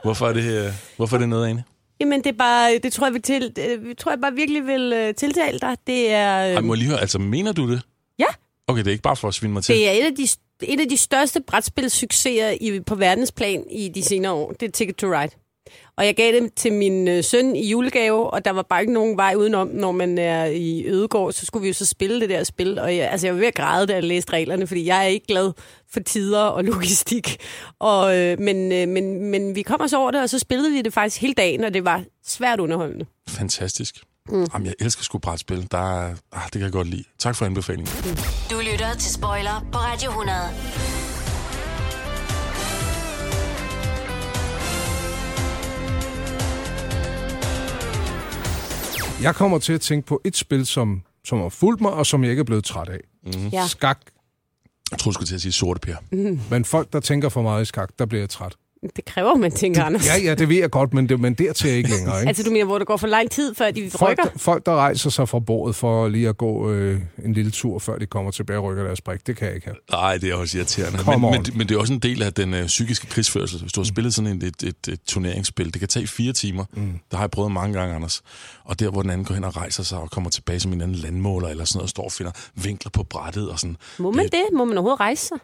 Speaker 4: hvorfor, er det, øh, hvorfor er det noget, Ane?
Speaker 3: Jamen, det, er bare, det tror jeg, vi til, det, tror jeg bare virkelig vil øh, tiltale dig. Det er, øh,
Speaker 4: Ej, må jeg lige høre, altså mener du det?
Speaker 3: Ja.
Speaker 4: Okay, det er ikke bare for at svine mig til.
Speaker 3: det er et af de, et af de største brætspilssucceser i, på verdensplan i de senere år. Det er Ticket to Ride. Og jeg gav dem til min øh, søn i julegave, og der var bare ikke nogen vej udenom, når man er i Ødegård, så skulle vi jo så spille det der spil. Og jeg, altså, jeg var ved at græde, da jeg læste reglerne, fordi jeg er ikke glad for tider og logistik. Og, øh, men, øh, men, men vi kom os over det, og så spillede vi det faktisk hele dagen, og det var svært underholdende.
Speaker 4: Fantastisk.
Speaker 3: Mm.
Speaker 4: Mm. Jamen, jeg elsker sgu brætspil. Der er, ah, det kan jeg godt lide. Tak for anbefalingen.
Speaker 1: Du lytter til Spoiler på Radio 100.
Speaker 2: Jeg kommer til at tænke på et spil, som, som har fulgt mig, og som jeg ikke er blevet træt af.
Speaker 4: Mm.
Speaker 3: Ja.
Speaker 2: Skak.
Speaker 4: Jeg tror, du skulle til at sige sorte per.
Speaker 3: Mm.
Speaker 2: Men folk, der tænker for meget i skak, der bliver jeg træt.
Speaker 3: Det kræver, man tænker, Anders.
Speaker 2: Ja, ja, det ved jeg godt, men, det, men dertil er jeg ikke længere. Ikke?
Speaker 3: Altså, du mener, hvor det går for lang tid, før de
Speaker 2: folk,
Speaker 3: rykker?
Speaker 2: der- folk, der rejser sig fra bordet for lige at gå øh, en lille tur, før de kommer tilbage og rykker deres brik, det kan jeg ikke have.
Speaker 4: Nej, det er også irriterende.
Speaker 2: Come
Speaker 4: men,
Speaker 2: on. Mm.
Speaker 4: men, det- men det er også en del af den øh, psykiske krigsførsel. Hvis du har spillet sådan et, et, et, et turneringsspil, det kan tage fire timer. Mm. Der har jeg prøvet mange gange, Anders. Og der, hvor den anden går hen og rejser sig og kommer tilbage som en anden landmåler eller sådan noget, og står og finder vinkler på brættet og sådan.
Speaker 3: Må man det? Må man overhovedet rejse sig?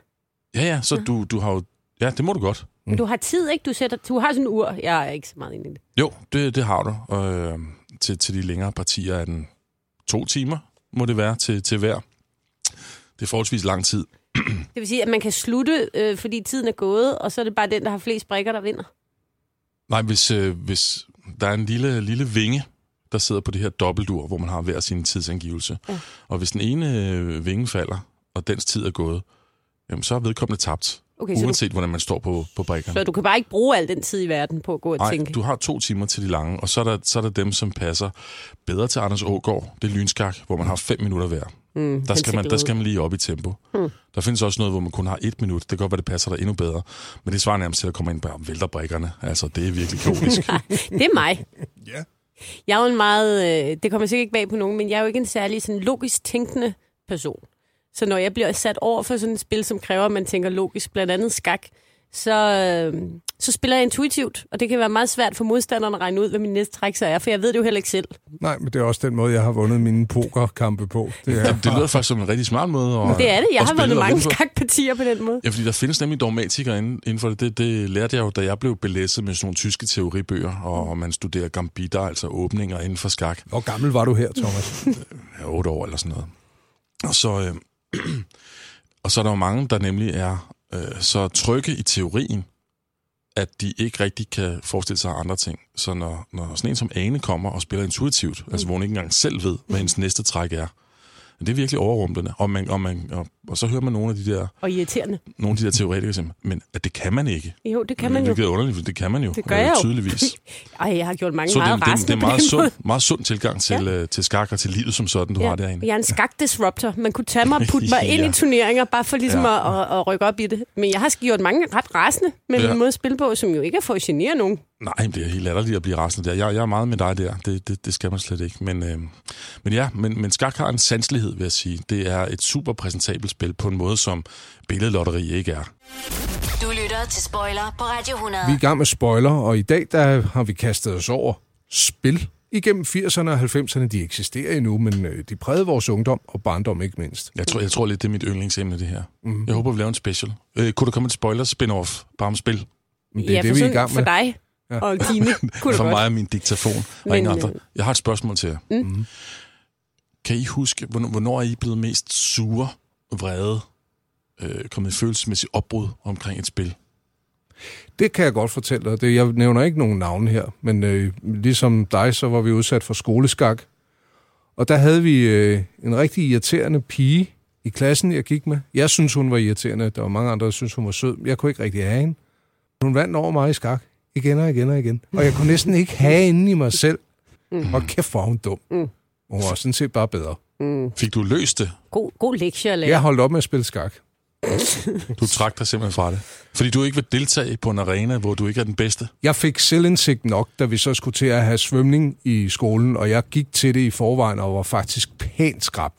Speaker 4: Ja, ja, så du, du har jo... Ja, det må du godt.
Speaker 3: Men du har tid, ikke? Du, sætter, du har sådan en ur. Jeg er ikke så meget inde i det.
Speaker 4: Jo, det, det har du. Og, øh, til, til de længere partier er den to timer, må det være, til, til hver. Det er forholdsvis lang tid.
Speaker 3: Det vil sige, at man kan slutte, øh, fordi tiden er gået, og så er det bare den, der har flest brikker, der vinder.
Speaker 4: Nej, hvis, øh, hvis der er en lille, lille vinge, der sidder på det her dobbeltur, hvor man har hver sin tidsangivelse.
Speaker 3: Ja.
Speaker 4: Ja. Og hvis den ene øh, vinge falder, og dens tid er gået, jamen, så er vedkommende tabt.
Speaker 3: Okay,
Speaker 4: Okay,
Speaker 3: så du-
Speaker 4: uanset, hvordan man står på, på brikkerne.
Speaker 3: Så du kan bare ikke bruge al den tid i verden på at gå og
Speaker 4: Nej,
Speaker 3: tænke.
Speaker 4: du har to timer til de lange, og så er, der, så er der dem, som passer bedre til Anders Ågaard. Det er lynskak, hvor man har fem minutter hver.
Speaker 3: Mm,
Speaker 4: der, skal man, der
Speaker 3: hensigtglade.
Speaker 4: skal man lige op i tempo.
Speaker 3: Hmm.
Speaker 4: Der findes også noget, hvor man kun har et minut. Det kan godt være, det passer dig endnu bedre. Men det svarer nærmest til at komme ind og vælter brikkerne. Altså, det er virkelig komisk.
Speaker 3: det er mig.
Speaker 2: Ja.
Speaker 3: Jeg er jo en meget, øh, det kommer sikkert ikke bag på nogen, men jeg er jo ikke en særlig sådan logisk tænkende person. Så når jeg bliver sat over for sådan et spil, som kræver, at man tænker logisk, blandt andet skak, så, øh, så spiller jeg intuitivt, og det kan være meget svært for modstanderen at regne ud, hvad min næste træk så er, for jeg ved det jo heller ikke selv.
Speaker 2: Nej, men det er også den måde, jeg har vundet mine pokerkampe på. Det, er,
Speaker 4: Det lyder faktisk som en rigtig smart måde. At,
Speaker 3: det er det. Jeg har
Speaker 4: at spille
Speaker 3: vundet
Speaker 4: og
Speaker 3: mange
Speaker 4: vinde på.
Speaker 3: skakpartier på den måde.
Speaker 4: Ja, fordi der findes nemlig dogmatikere inden, inden for det. det. Det lærte jeg jo, da jeg blev belæsset med sådan nogle tyske teoribøger, og, og man studerer gambitter, altså åbninger inden for skak.
Speaker 2: Hvor gammel var du her, Thomas?
Speaker 4: Ja, otte år eller sådan noget. Og så, øh, og så er der jo mange, der nemlig er øh, så trygge i teorien, at de ikke rigtig kan forestille sig andre ting. Så når, når sådan en som Ane kommer og spiller intuitivt,
Speaker 3: Mm.
Speaker 4: altså hvor hun ikke engang selv ved, hvad hendes næste træk er, det er virkelig overrumplende. Og, man, og, man, og, og så hører man nogle af de der
Speaker 3: Og irriterende.
Speaker 4: nogle af de der teoretikere siger, men at det kan man ikke.
Speaker 3: Jo, det kan man jo.
Speaker 4: Det er underligt, for det kan man jo.
Speaker 3: Det gør jeg jo.
Speaker 4: Tydeligvis.
Speaker 3: Ej, jeg har gjort mange
Speaker 4: Så det, er
Speaker 3: meget
Speaker 4: en- det, er en- det er
Speaker 3: rasende på
Speaker 4: en meget
Speaker 3: den måde.
Speaker 4: sund, meget sund tilgang til, ja. øh, til skak og til livet som sådan, du ja. har derinde.
Speaker 3: Jeg er en skak-disruptor. Man kunne tage mig og putte mig ind
Speaker 4: Ja.
Speaker 3: i turneringer, bare for ligesom
Speaker 4: Ja.
Speaker 3: ja. at, at, at rykke op i det. Men jeg har gjort mange ret rasende med
Speaker 4: Ja.
Speaker 3: ja. min måde at spille på, som jo ikke er for at genere nogen.
Speaker 4: Nej, men det er helt latterligt at blive rasende der. Jeg, jeg er meget med dig der. Det, det, det skal man slet ikke. Men, øh, men ja, men, men skak har en sanselighed, vil jeg sige. Det er et super præsentabelt spil på en måde, som billedlotteri ikke er.
Speaker 1: Du lytter til Spoiler på Radio 100.
Speaker 2: Vi er i gang med spoiler, og i dag der har vi kastet os over spil igennem 80'erne og 90'erne. De eksisterer endnu, men øh, de prægede vores ungdom og barndom ikke mindst.
Speaker 4: Jeg tror, jeg tror lidt, det er mit yndlingsemne, det her.
Speaker 3: Mhm.
Speaker 4: Mm. Jeg håber, vi laver en special. Øh, kunne der komme et spoiler-spin-off bare om spil?
Speaker 2: Men det er Ja, det, for vi er i sådan- gang med.
Speaker 3: For dig
Speaker 2: Ja.
Speaker 3: ja. og dine kunne
Speaker 4: for
Speaker 3: du
Speaker 4: mig
Speaker 3: godt.
Speaker 4: og min diktafon og
Speaker 3: Men,
Speaker 4: ingen andre.
Speaker 3: øh,
Speaker 4: Jeg har et spørgsmål til jer.
Speaker 3: Mm.
Speaker 4: Mm. Kan I huske, hvornår, hvornår er I blevet mest sure, vrede, øh, kommet i følelsesmæssig opbrud omkring et spil?
Speaker 2: Det kan jeg godt fortælle dig. Det, jeg nævner ikke nogen navne her, men øh, ligesom dig, så var vi udsat for skoleskak. Og der havde vi øh, en rigtig irriterende pige i klassen, jeg gik med. Jeg synes hun var irriterende. Der var mange andre, der synes hun var sød. Jeg kunne ikke rigtig have hende. Hun vandt over mig i skak. Igen og igen og igen. Og jeg kunne næsten ikke have hende i mig selv. Mm. Og kæft, hvor var hun dum.
Speaker 3: Mm.
Speaker 2: Hun var sådan set bare bedre.
Speaker 3: Mm.
Speaker 4: Fik du løst det?
Speaker 3: God, god lektie at lære.
Speaker 2: Jeg holdt op med at spille skak.
Speaker 4: Du trak dig simpelthen fra det. Fordi du ikke vil deltage på en arena, hvor du ikke er den bedste.
Speaker 2: Jeg fik selvindsigt nok, da vi så skulle til at have svømning i skolen, og jeg gik til det i forvejen og var faktisk pænt skrab,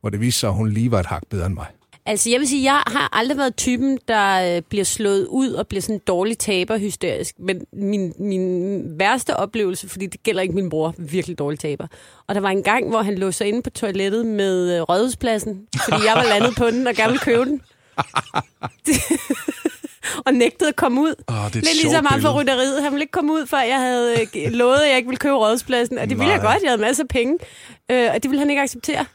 Speaker 2: hvor det viste sig, at hun lige var et hak bedre end mig.
Speaker 3: Altså, jeg vil sige, jeg har aldrig været typen, der øh, bliver slået ud og bliver sådan en dårlig taber hysterisk. Men min, min værste oplevelse, fordi det gælder ikke min bror, virkelig dårlig taber. Og der var en gang, hvor han lå sig inde på toilettet med øh, rådhuspladsen, fordi jeg var landet på den og gerne ville købe den. og nægtede at komme ud.
Speaker 4: Åh, det er et
Speaker 3: Lidt
Speaker 4: sjovt
Speaker 3: ligesom ham for
Speaker 4: billede.
Speaker 3: rytteriet. Han ville ikke komme ud, før jeg havde øh, g- lovet, at jeg ikke ville købe rådhuspladsen. Og det ville jeg
Speaker 4: Nej.
Speaker 3: godt, jeg havde masser af penge. Øh, og det ville han ikke acceptere.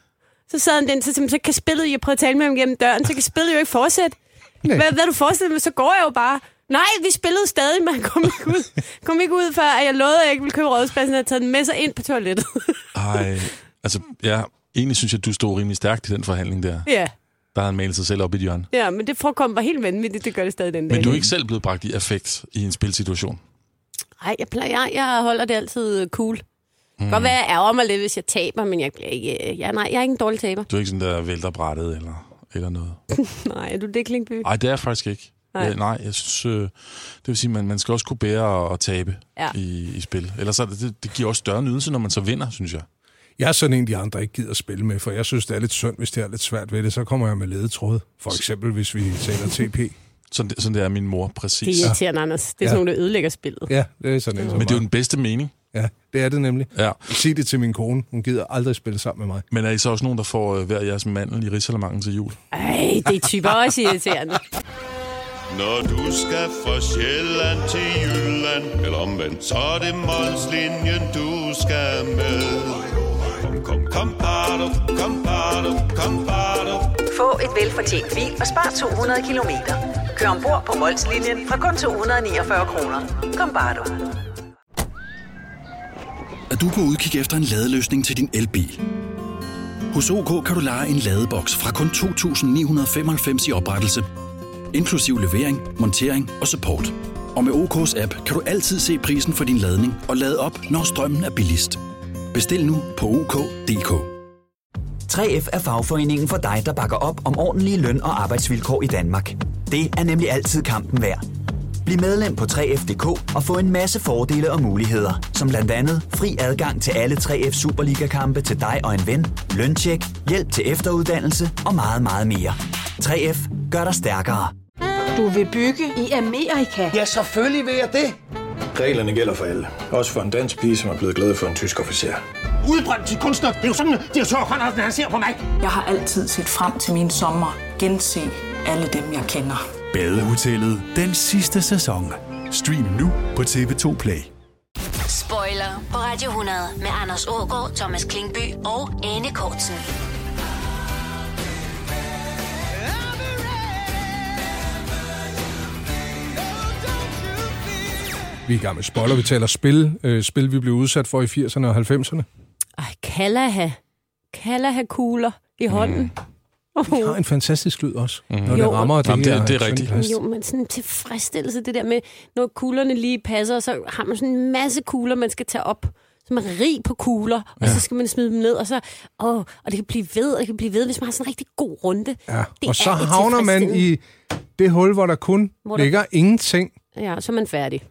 Speaker 3: Så sad han den, så, så, så kan spillet, jeg prøvede at tale med ham gennem døren, så kan spillet jo ikke fortsætte. Hvad, hvad er du forestillet med? Så går jeg jo bare. Nej, vi spillede stadig, men han kom ikke ud, kom ikke ud før at jeg lovede, at jeg ikke ville købe rådspladsen, og havde taget den med sig ind på toilettet.
Speaker 4: Ej, altså, ja, egentlig synes jeg, at du stod rimelig stærkt i den forhandling der.
Speaker 3: ja,
Speaker 4: Der har han malet sig selv op i et hjørne.
Speaker 3: ja, men det forekom var helt vanvittigt, det gør det stadig den dag.
Speaker 4: Men du er ikke selv blevet bragt i affekt i en spilsituation.
Speaker 3: Nej, jeg, plejer, jeg, jeg holder det altid øh, cool. Mm. Godt være, jeg ærger mig lidt, hvis jeg taber, men jeg bliver ikke... øh, Ja, nej, jeg er ikke en dårlig taber.
Speaker 4: Du er ikke sådan der vælter brættet eller, eller noget.
Speaker 3: nej, er du det, Klingby?
Speaker 4: Nej, det er jeg faktisk ikke.
Speaker 3: Nej.
Speaker 4: Nej, ja, nej jeg synes, øh, det vil sige, man, man skal også kunne bære at, at tabe
Speaker 3: Ja.
Speaker 4: ja. i, i spil. Ellers er det, det, det giver også større nydelse, når man så vinder, synes jeg.
Speaker 2: Jeg er sådan en, de andre ikke gider at spille med, for jeg synes, det er lidt synd, hvis det er lidt svært ved det. Så kommer jeg med ledetråd, for eksempel hvis vi taler TP.
Speaker 4: Sådan, det- sådan det er min mor, præcis.
Speaker 3: Det er irriterende, Anders. Det er
Speaker 2: Ja.
Speaker 3: sådan nogle, der ødelægger spillet.
Speaker 2: Ja, det er sådan en. som
Speaker 4: Men det er jo
Speaker 2: mig.
Speaker 4: den bedste mening.
Speaker 2: Ja, det er det nemlig.
Speaker 4: Ja.
Speaker 2: Sig det til min kone. Hun gider aldrig spille sammen med mig.
Speaker 4: Men er I så også nogen, der får øh, hver jeres mandel i risalamangen til jul?
Speaker 3: Ej, det er typer også irriterende.
Speaker 5: Når du skal fra Sjælland til Jylland Eller omvendt, så er det Molslinjen, du skal med Kom, kom, kom, bado, kom, bado, kom, bado.
Speaker 6: Få et velfortjent bil og spar 200 kilometer. Kør ombord på Molslinjen fra kun 249 kroner. Kom bare du.
Speaker 7: Er du på udkig efter en ladeløsning til din elbil? Hos OK kan du lege en ladeboks fra kun 2.995 i oprettelse, inklusiv levering, montering og support. Og med OK's app kan du altid se prisen for din ladning og lade op, når strømmen er billigst. Bestil nu på OK.dk.
Speaker 8: 3F er fagforeningen for dig, der bakker op om ordentlige løn- og arbejdsvilkår i Danmark. Det er nemlig altid kampen værd. Bliv medlem på 3F.dk og få en masse fordele og muligheder, som blandt andet fri adgang til alle 3F Superliga-kampe til dig og en ven, løntjek, hjælp til efteruddannelse og meget, meget mere. 3F gør dig stærkere.
Speaker 9: Du vil bygge i Amerika? Ja, selvfølgelig vil jeg det.
Speaker 11: Reglerne gælder for alle. Også for en dansk pige, som er blevet glad for en tysk officer.
Speaker 10: Udbrændt til kunstner. Det er jo sådan, at de har tørt, Conradsen, han ser på mig.
Speaker 9: Jeg har altid set frem til min sommer, gense alle dem, jeg kender.
Speaker 12: Badehotellet den sidste sæson. Stream nu på TV2 Play.
Speaker 1: Spoiler på Radio 100 med Anders Ågaard, Thomas Klingby og Anne Kortsen.
Speaker 2: Vi er i gang med spoiler. Vi taler spil. Øh, spil, vi blev udsat for i 80'erne og 90'erne.
Speaker 3: Ej, Kalaha. Kalaha-kugler i hånden. Mm.
Speaker 2: Det har en fantastisk lyd også, mm. når det rammer. Det,
Speaker 4: Mhm. Jamen, det-
Speaker 2: her
Speaker 4: det er
Speaker 2: sådan
Speaker 4: rigtigt.
Speaker 2: plast.
Speaker 3: Jo, men sådan en tilfredsstillelse, det der med, når kuglerne lige passer, så har man sådan en masse kugler, man skal tage op. Så man er rig på kugler, og
Speaker 2: Ja.
Speaker 3: så skal man smide dem ned, og så, åh, og det kan blive ved, og det kan blive ved, hvis man har sådan en rigtig god runde.
Speaker 2: Ja.
Speaker 3: Det
Speaker 2: Og så
Speaker 3: er et
Speaker 2: havner man i det hul, hvor der kun
Speaker 3: Hvor
Speaker 2: hvor der...
Speaker 3: der-
Speaker 2: ligger ingenting.
Speaker 3: Ja, så er man færdig.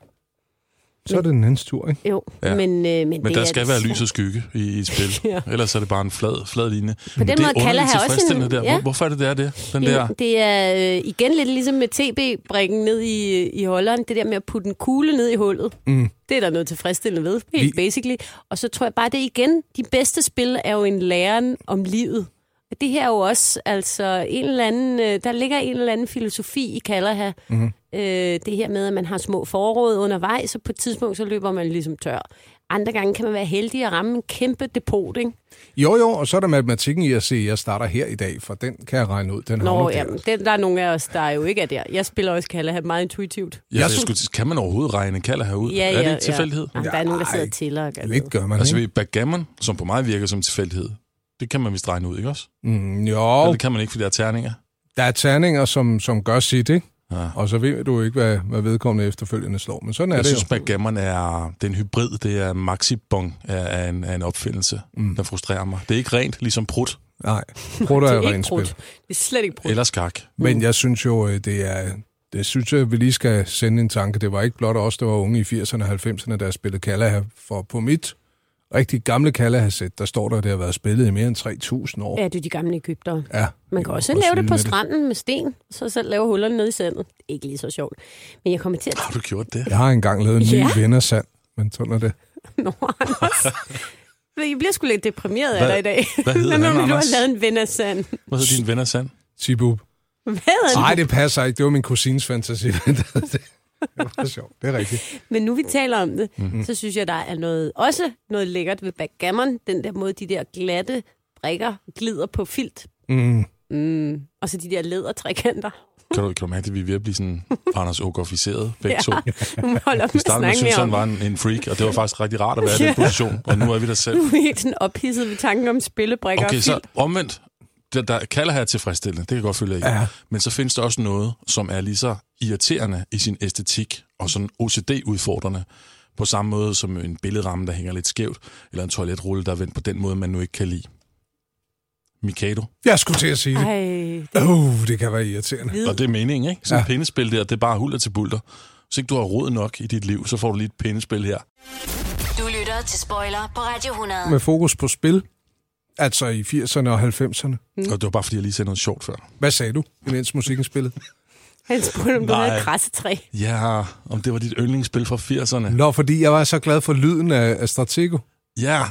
Speaker 2: Så er det den andens tur, ikke?
Speaker 3: Jo, ja.
Speaker 4: Ja.
Speaker 3: men, øh, men,
Speaker 4: Men
Speaker 3: det
Speaker 4: der
Speaker 3: er
Speaker 4: skal
Speaker 3: et-
Speaker 4: være lys og skygge i, i et spil.
Speaker 3: Ja.
Speaker 4: ja. Ellers er det bare en flad, flad linje.
Speaker 3: den
Speaker 4: det
Speaker 3: måde
Speaker 4: er
Speaker 3: kalder
Speaker 4: underligt
Speaker 3: jeg også en-
Speaker 4: tilfredsstillende der.
Speaker 3: ja.
Speaker 4: Hvor, hvorfor er det der, det? Den
Speaker 3: Jamen,
Speaker 4: der...
Speaker 3: Det er øh, igen lidt ligesom med TB-brikken ned i, i holderen. Det der med at putte en kugle ned i hullet.
Speaker 2: Mm.
Speaker 3: Det er der noget tilfredsstillende ved,
Speaker 2: Vi-
Speaker 3: helt basically. Og så tror jeg bare, det er igen, de bedste spil er jo en læren om livet. Og det her er jo også, altså, en eller anden, øh, der ligger en eller anden filosofi i kalder her.
Speaker 4: Mm-hmm.
Speaker 3: Mm. Øh, det her med, at man har små forråd undervejs, og på et tidspunkt, så løber man ligesom tør. Andre gange kan man være heldig at ramme en kæmpe depot, ikke?
Speaker 2: Jo, jo, og så er der matematikken i at se, at jeg starter her i dag, for den kan jeg regne ud. Den
Speaker 3: Nå,
Speaker 2: havner der.
Speaker 3: jamen, det, der er nogle af os, der jo ikke er der. Jeg spiller også kalder her meget intuitivt.
Speaker 4: Jeg, jeg skulle, kan man overhovedet regne kalder herud?
Speaker 3: Ja, ja,
Speaker 4: er det
Speaker 3: ja.
Speaker 4: en tilfældighed?
Speaker 3: Jamen, der er nogen, der sidder og tæller. og gør
Speaker 2: Det gør man,
Speaker 4: Altså
Speaker 2: altså,
Speaker 4: ved backgammon, som på mig virker som tilfældighed, det kan man vist regne ud, ikke også?
Speaker 2: mm, Jo,
Speaker 4: Oh. Eller det kan man ikke, fordi der er terninger.
Speaker 2: der er terninger, som, som gør sit, ikke?
Speaker 4: Ja.
Speaker 2: Og så ved du ikke, hvad, hvad vedkommende efterfølgende slår, men sådan er
Speaker 4: Jeg
Speaker 2: det
Speaker 4: synes,
Speaker 2: jo.
Speaker 4: backgammon er, det er en hybrid, det er maxibong af, af, en, af en opfindelse, mm. der frustrerer mig. Det er ikke rent, ligesom prut
Speaker 2: Nej, prøv
Speaker 3: Det
Speaker 2: dig
Speaker 3: er
Speaker 2: at
Speaker 3: ikke
Speaker 2: rent
Speaker 3: brudt.
Speaker 2: spil.
Speaker 3: Det er slet ikke brudt.
Speaker 4: eller skak.
Speaker 3: Mm.
Speaker 2: Men jeg synes jo, øh, det er... Det synes jeg, vi lige skal sende en tanke. Det var ikke blot os, der var unge i 80'erne og 90'erne, der spillede Kalaha. For på mit rigtig gamle Kalaha-sæt, der står der, at det har været spillet i mere end 3.000 år.
Speaker 3: Ja, det er de gamle Ægypter.
Speaker 2: Ja,
Speaker 3: Man kan også
Speaker 2: også
Speaker 3: lave det
Speaker 2: vilde
Speaker 3: på
Speaker 2: med det.
Speaker 3: stranden med sten, og så selv lave hullerne nede i sandet. Det er ikke lige så sjovt. Men jeg kommer til at...
Speaker 4: Har du gjort det?
Speaker 2: jeg har engang lavet en ny
Speaker 3: Ja.
Speaker 2: vindersand, men sådan er det.
Speaker 3: Nå, Anders. Jeg bliver sgu lidt deprimeret af
Speaker 4: Hvad-
Speaker 3: dig i dag.
Speaker 4: hvad hedder
Speaker 3: nu,
Speaker 4: han,
Speaker 3: du har
Speaker 4: Anders?
Speaker 3: lavet en ven af sand.
Speaker 4: Hvad hedder din venner sand?
Speaker 2: Tibub.
Speaker 3: Hvad er det?
Speaker 2: Nej, det passer ikke. Det var min kusins fantasi. det var sjovt. Det er rigtigt.
Speaker 3: Men nu vi taler om det,
Speaker 4: Mhm.
Speaker 3: mm-hmm. så synes jeg, der er noget, også noget lækkert ved backgammon. Den der måde, de der glatte brikker glider på filt.
Speaker 2: Mm.
Speaker 3: Mm. Og så de der lædertrækanter.
Speaker 4: Kan du, kan du mærke, at vi er ved at blive sådan Anders Åkerficeret, begge to?
Speaker 3: Nu holder op
Speaker 4: Vi
Speaker 3: med at
Speaker 4: startede med at
Speaker 3: snakke mere
Speaker 4: synes,
Speaker 3: om
Speaker 4: han var en, en freak, og det var faktisk rigtig rart at være i den
Speaker 3: Ja.
Speaker 4: position, og nu er vi der selv.
Speaker 3: Nu er vi helt sådan ophidset ved tanken om spillebrikker
Speaker 4: Okay,
Speaker 3: og
Speaker 4: så
Speaker 3: filt.
Speaker 4: omvendt. Der, der kalder her tilfredsstillende, det kan jeg godt følge af. Ja. Men så findes der også noget, som er lige så irriterende i sin æstetik, og sådan OCD-udfordrende, på samme måde som en billedramme, der hænger lidt skævt, eller en toiletrulle, der er vendt på den måde, man nu ikke kan lide. Mikado.
Speaker 2: Jeg skulle til at sige det.
Speaker 3: Ej,
Speaker 2: Åh, oh, det kan være irriterende.
Speaker 4: Og det er meningen, ikke? Sådan ja.
Speaker 2: Ja.
Speaker 4: et pindespil der, det er bare hulter til bulter. Hvis ikke du har råd nok i dit liv, så får du lige et pindespil her.
Speaker 1: Du lytter til Spoiler på Radio 100.
Speaker 2: Med fokus på spil, altså i 80'erne og 90'erne.
Speaker 4: Mm. Og det var bare, fordi jeg lige sagde noget sjovt før.
Speaker 2: Hvad sagde du, imens musikken spillede?
Speaker 3: han spurgte, om du
Speaker 4: Nej.
Speaker 3: havde et krassetræ.
Speaker 4: Ja, om det var dit yndlingsspil fra 80'erne.
Speaker 2: Nå, fordi jeg var så glad for lyden af, af Stratego.
Speaker 4: Ja,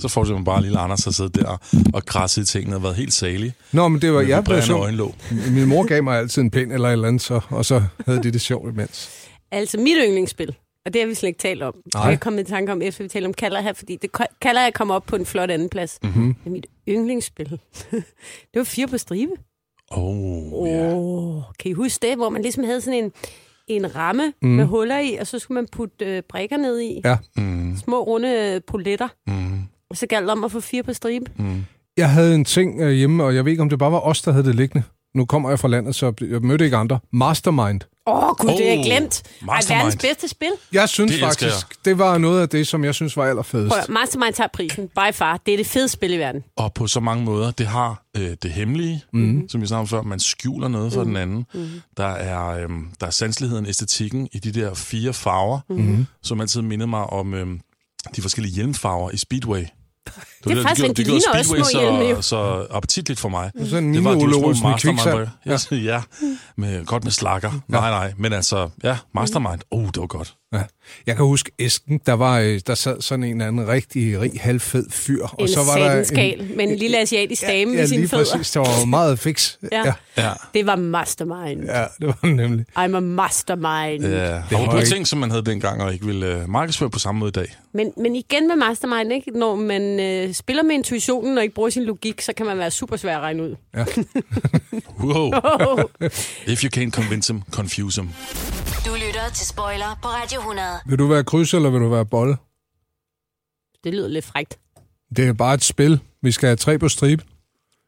Speaker 4: så fortsætter man bare lille Anders har siddet der og krasset i tingene og været helt salig.
Speaker 2: Nå, men det var,
Speaker 4: Med
Speaker 2: jeg blev
Speaker 4: vibrerende
Speaker 2: så...
Speaker 4: øjenlåg.
Speaker 2: Min mor gav mig altid en pind eller et eller andet, så, og så havde de det sjovt imens.
Speaker 3: Altså mit yndlingsspil, og det har vi slet ikke talt om. Nej. Jeg er kommet i tanke om, efter vi taler om Kaller her, fordi det, Kaller her kom op på en flot anden plads. Mm-hmm.
Speaker 4: Mhm.
Speaker 3: Det er mit yndlingsspil. det var fire på stribe.
Speaker 4: Åh, oh, ja.
Speaker 3: Åh, oh, kan I huske det, hvor man ligesom havde sådan en, en ramme mm. med huller i, og så skulle man putte øh, brikker ned i.
Speaker 2: Ja.
Speaker 4: Mm,
Speaker 3: Små runde øh, poletter.
Speaker 4: mm,
Speaker 3: Og så galt det om at få fire på stribe.
Speaker 4: mm.
Speaker 2: Jeg havde en ting øh, hjemme, og jeg ved ikke, om det bare var os, der havde det liggende. Nu kommer jeg fra landet, så jeg mødte ikke andre. Mastermind.
Speaker 3: Åh, oh, gud, oh, det har jeg
Speaker 4: Åh,
Speaker 3: glemt. Ej,
Speaker 4: Mastermind.
Speaker 3: verdens bedste spil.
Speaker 2: Jeg synes
Speaker 4: Det
Speaker 2: det
Speaker 4: elsker
Speaker 2: faktisk, det var noget af det, som jeg synes var allerfedest.
Speaker 3: Prøv, at høre, Mastermind tager prisen. By far. Det er det fede spil i verden.
Speaker 4: Og på så mange måder. Det har øh, det hemmelige,
Speaker 2: Mhm.
Speaker 4: mm. som vi snakkede om før. Man skjuler noget
Speaker 3: Mhm.
Speaker 4: for mm. den anden. Mm. Der, er, øh, der er sanseligheden, æstetikken i de der
Speaker 3: Mhm.
Speaker 2: Mhm.
Speaker 4: fire farver, mm. som altid minder mig om øh, de forskellige øhm, hjelmfarver i Speedway. Det,
Speaker 3: er faktisk
Speaker 4: gjorde-
Speaker 3: rigtigt. De
Speaker 4: det gjorde
Speaker 3: ligner også små
Speaker 4: Speedway
Speaker 3: hjelme,
Speaker 4: så,
Speaker 3: jo.
Speaker 4: så appetitligt for mig.
Speaker 2: Det er sådan en
Speaker 4: det
Speaker 2: mini
Speaker 4: de var
Speaker 2: Ole
Speaker 4: små
Speaker 2: Olsen i
Speaker 4: mastermind-
Speaker 2: kviksand.
Speaker 4: Ja, ja. Med, godt med slakker. Nej, nej, men altså, ja,
Speaker 2: Mhm.
Speaker 4: mastermind. Oh, det var godt.
Speaker 2: Ja. Jeg kan huske Esken, der, var, øh, der sad sådan en eller anden rigtig rig, halvfed fyr.
Speaker 3: En
Speaker 2: og så var
Speaker 3: satanskal, en... men en lille asiatisk dame
Speaker 2: Ja,
Speaker 3: med sine
Speaker 2: lige
Speaker 3: fødder.
Speaker 2: præcis. Der var meget fix.
Speaker 3: Ja.
Speaker 4: Ja.
Speaker 3: Det var mastermind.
Speaker 2: ja, det var den nemlig.
Speaker 3: I'm a mastermind.
Speaker 4: Ja,
Speaker 2: Det
Speaker 4: det var
Speaker 2: var ikke-
Speaker 4: ting, som man havde dengang, og ikke ville øh, markedsføre på samme måde i dag.
Speaker 3: Men, men igen med mastermind, ikke? når man øh, spiller med intuitionen og ikke bruger sin logik, så kan man være super svær at regne ud.
Speaker 2: Ja.
Speaker 4: Wow.
Speaker 3: Oh.
Speaker 4: If you can't convince him, confuse him.
Speaker 1: Du lytter til Spoiler på Radio 100.
Speaker 2: Vil du være kryds, eller vil du være bolle?
Speaker 3: Det lyder lidt frægt.
Speaker 2: Det er bare et spil. Vi skal have tre på stribe.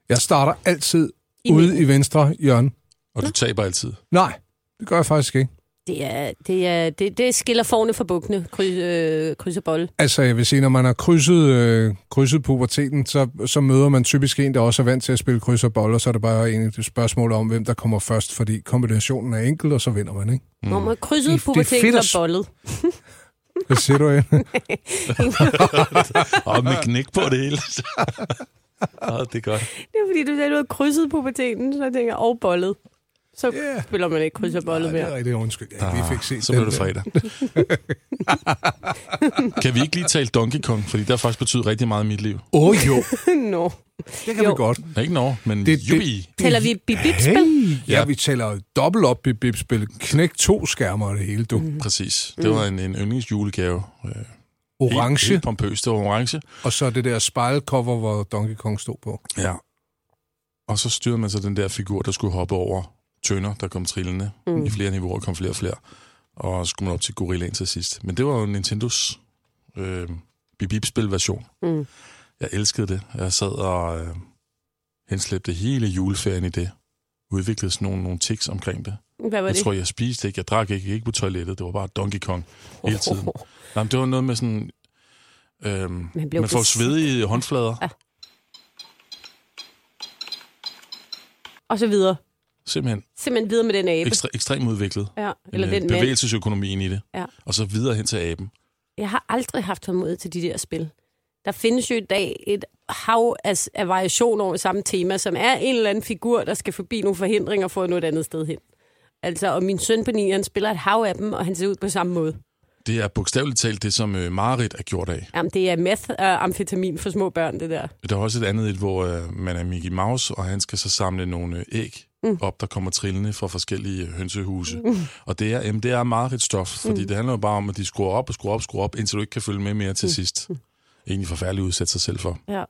Speaker 2: Jeg starter altid
Speaker 3: I
Speaker 2: ude
Speaker 3: midten.
Speaker 2: i venstre hjørne.
Speaker 4: Og du taber altid.
Speaker 2: Nej, det gør jeg faktisk ikke.
Speaker 3: Det, er, det, er, det, det skiller forne fra bukkene, kryds, øh, kryds og bolle.
Speaker 2: Altså, jeg vil sige, når man har krydset, øh, krydset puberteten, så, så møder man typisk en, der også er vant til at spille kryds og bold, og så er det bare en et spørgsmål om, hvem der kommer først, fordi kombinationen er enkel, og så vinder man, ikke?
Speaker 3: Mm. Når man
Speaker 2: Det-
Speaker 3: krydset
Speaker 2: det er fedt
Speaker 3: puberteten og
Speaker 2: at s-
Speaker 3: bollet.
Speaker 2: Hvad siger du, Anne?
Speaker 4: Og med knæk på det hele. oh, det er godt.
Speaker 3: Det er fordi, du sagde, du havde krydset puberteten, så jeg tænker, og bollet. Så
Speaker 2: Ja.
Speaker 3: yeah. spiller man ikke kryds og bollet
Speaker 2: Nej, det
Speaker 3: mere.
Speaker 2: er rigtigt, undskyld. Ja, Ah. vi fik set
Speaker 4: Ah, Så blev
Speaker 2: den
Speaker 4: det
Speaker 2: der.
Speaker 4: fredag. kan vi ikke lige tale Donkey Kong? Fordi det har faktisk betydet rigtig meget i mit liv.
Speaker 2: Åh oh, jo,
Speaker 3: Nå.
Speaker 2: det kan jo. vi godt.
Speaker 4: Ikke Norge, men
Speaker 2: Det-
Speaker 4: det,
Speaker 2: det-
Speaker 4: Yubi.
Speaker 3: Tæller vi bibibspil?
Speaker 2: Hey, ja,
Speaker 4: Ja.
Speaker 2: vi taler dobbelt op i bibspil. Knæk to skærmer og det hele, du.
Speaker 3: Mhm.
Speaker 2: Mm.
Speaker 4: Præcis. Det var en, en yndlingsjulegave. Øh, helt-
Speaker 2: Orange,
Speaker 4: Helt pompøst. Det var orange.
Speaker 2: og så det der spejlcover, hvor Donkey Kong stod på.
Speaker 4: Ja. Og så styrede man så den der figur, der skulle hoppe over tønder, der kom trillende mm. i flere niveauer, kom flere og flere. Og så skulle man op til Gorillaen til sidst. Men det var jo Nintendos øh, bibibspil-version.
Speaker 3: Mm.
Speaker 4: Jeg elskede det. Jeg sad og øh, henslæbte hele juleferien i det. Udviklede sådan nogle, nogle tics omkring det.
Speaker 3: Hvad var
Speaker 4: Jeg
Speaker 3: det?
Speaker 4: tror, jeg spiste ikke, jeg drak ikke, jeg gik på toilettet. Det var bare Donkey Kong hele tiden. Nej, men det var noget med sådan... Øhm,
Speaker 3: Man blev
Speaker 4: man får
Speaker 3: besiddet.
Speaker 4: svedige håndflader.
Speaker 3: Ja. Og så videre.
Speaker 4: Simpelthen
Speaker 3: Simpelthen videre med den abe.
Speaker 4: ekstre, ekstremt udviklet.
Speaker 3: Ja, eller
Speaker 4: Øh,
Speaker 3: den mand.
Speaker 4: bevægelsesøkonomien i det.
Speaker 3: Ja.
Speaker 4: Og så videre hen til aben.
Speaker 3: Jeg har aldrig haft tålmodighed til de der spil. Der findes jo i dag et hav af, af variation over samme tema, som er en eller anden figur, der skal forbi nogle forhindringer for at nå et andet sted hen. Altså, og min søn på 9, han spiller et hav af dem, og han ser ud på samme måde.
Speaker 4: Det er bogstaveligt talt det, som øh, Marit er gjort af.
Speaker 3: Jamen, det er meth og amfetamin for små børn, det der.
Speaker 4: Der er også et andet et, hvor øh, man er Mickey Mouse, og han skal så samle nogle øh, æg mm. op, der kommer trillende fra forskellige hønsehuse. Mm. Og det er, jamen, det er meget et stof, fordi mm. det handler jo bare om, at de skruer op og skruer op og skruer op, indtil du ikke kan følge med mere til mm. sidst. Egentlig forfærdeligt at udsætte sig selv for.
Speaker 3: Ja.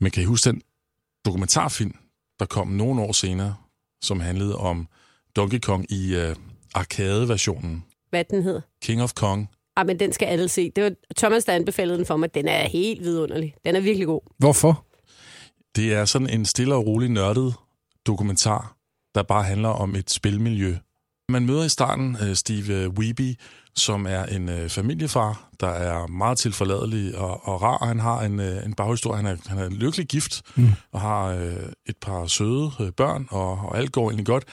Speaker 4: Men kan I huske den dokumentarfilm, der kom nogle år senere, som handlede om Donkey Kong i øh, arcade-versionen?
Speaker 3: Hvad den hed.
Speaker 4: King of Kong.
Speaker 3: Ah, men den skal alle se. Det var Thomas, der anbefalede den for mig. Den er helt vidunderlig. Den er virkelig god.
Speaker 2: Hvorfor?
Speaker 4: Det er sådan en stille og rolig nørdet dokumentar, der bare handler om et spilmiljø. Man møder i starten øh, Steve Weeby, som er en øh, familiefar, der er meget tilforladelig og, og rar. Han har en, øh, en baghistorie. Han er, han er lykkelig gift mm. og har øh, et par søde øh, børn, og, og alt går egentlig godt.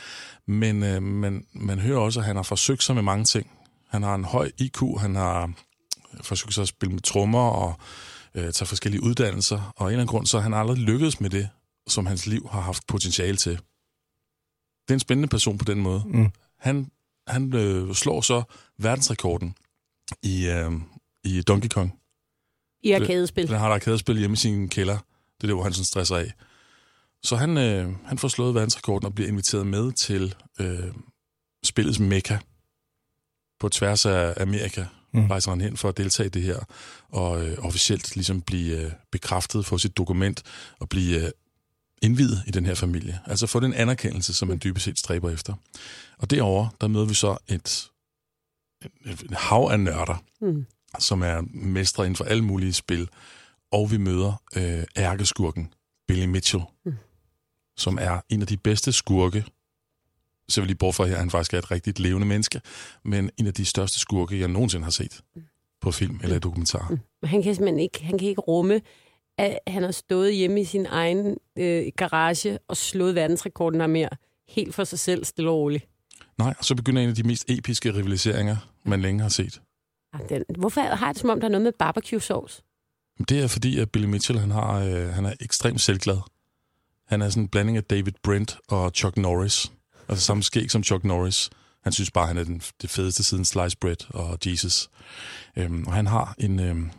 Speaker 4: Men øh, man, man hører også, at han har forsøgt sig med mange ting. Han har en høj IQ, han har forsøgt sig at spille med trommer og øh, tage forskellige uddannelser, og af en eller anden grund, så har han aldrig lykkedes med det, som hans liv har haft potentiale til. Det er en spændende person på den måde.
Speaker 2: Mm.
Speaker 4: Han, han øh, slår så verdensrekorden i, øh, i Donkey Kong.
Speaker 3: I arkadespil.
Speaker 4: Den har et arkadespil hjemme i sin kælder. Det er det, hvor han sådan stresser af. Så han, øh, han får slået verdensrekorden og bliver inviteret med til øh, spillets mekka. På tværs af Amerika
Speaker 2: Mm.
Speaker 4: mm. rejser han hen for at deltage i det her, og øh, officielt ligesom blive øh, bekræftet, få sit dokument og blive øh, indvidet i den her familie. Altså få den anerkendelse, som man dybest set stræber efter. Og derovre, der møder vi så et, et, et hav af nørder,
Speaker 3: Mm.
Speaker 4: som er mestre inden for alle mulige spil. Og vi møder øh, ærkeskurken Billy Mitchell,
Speaker 3: Mm.
Speaker 4: mm. som er en af de bedste skurke. Så vil jeg lige bort fra her, at han faktisk er et rigtigt levende menneske, men en af de største skurke, jeg nogensinde har set på film eller i dokumentar. Mm.
Speaker 3: Han kan simpelthen ikke, han kan ikke rumme, at han har stået hjemme i sin egen øh, garage og slået verdensrekorden her mere. Helt for sig selv, stille og roligt.
Speaker 4: Nej, og så begynder en af de mest episke rivaliseringer, man længe har set.
Speaker 3: Ah, Den, hvorfor har jeg det, som om der er noget med barbecue-sauce?
Speaker 4: Men det er fordi, at Billy Mitchell han har, øh, han er ekstremt selvglad. Han er sådan en blanding af David Brent og Chuck Norris. Altså samme skæg som Chuck Norris. Han synes bare, han er den, det fedeste siden Slice Bread og Jesus. Øhm, og han har en, øhm,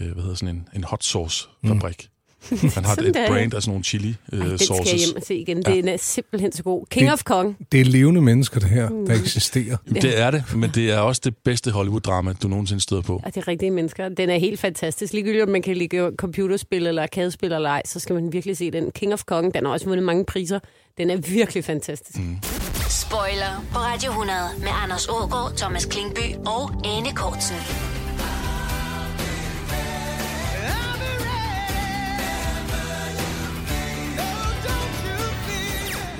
Speaker 4: øh, hvad hedder sådan en, en hot sauce-fabrik. Mm. Han har et,
Speaker 3: Sådan
Speaker 4: et
Speaker 3: der, ja.
Speaker 4: brand af sådan nogle chili øh,
Speaker 3: Den skal jeg
Speaker 4: sauces.
Speaker 3: hjem og se igen. Den er simpelthen så god. King
Speaker 4: Det-
Speaker 3: of Kong.
Speaker 2: Det er levende mennesker, det her,
Speaker 3: Mm.
Speaker 2: der eksisterer.
Speaker 4: Jamen, Det er det, men det er også det bedste Hollywood-drama, du nogensinde støder på.
Speaker 3: Og Ah, det er rigtige mennesker. Den er helt fantastisk. Ligegyldigt om man kan ligge computerspil eller arkadespil eller ej, så skal man virkelig se den. King of Kong, den har også vundet mange priser. Den er virkelig fantastisk. Mm.
Speaker 1: Spoiler på Radio 100 med Anders Ågaard, Thomas Klingby og Anne Kortsen.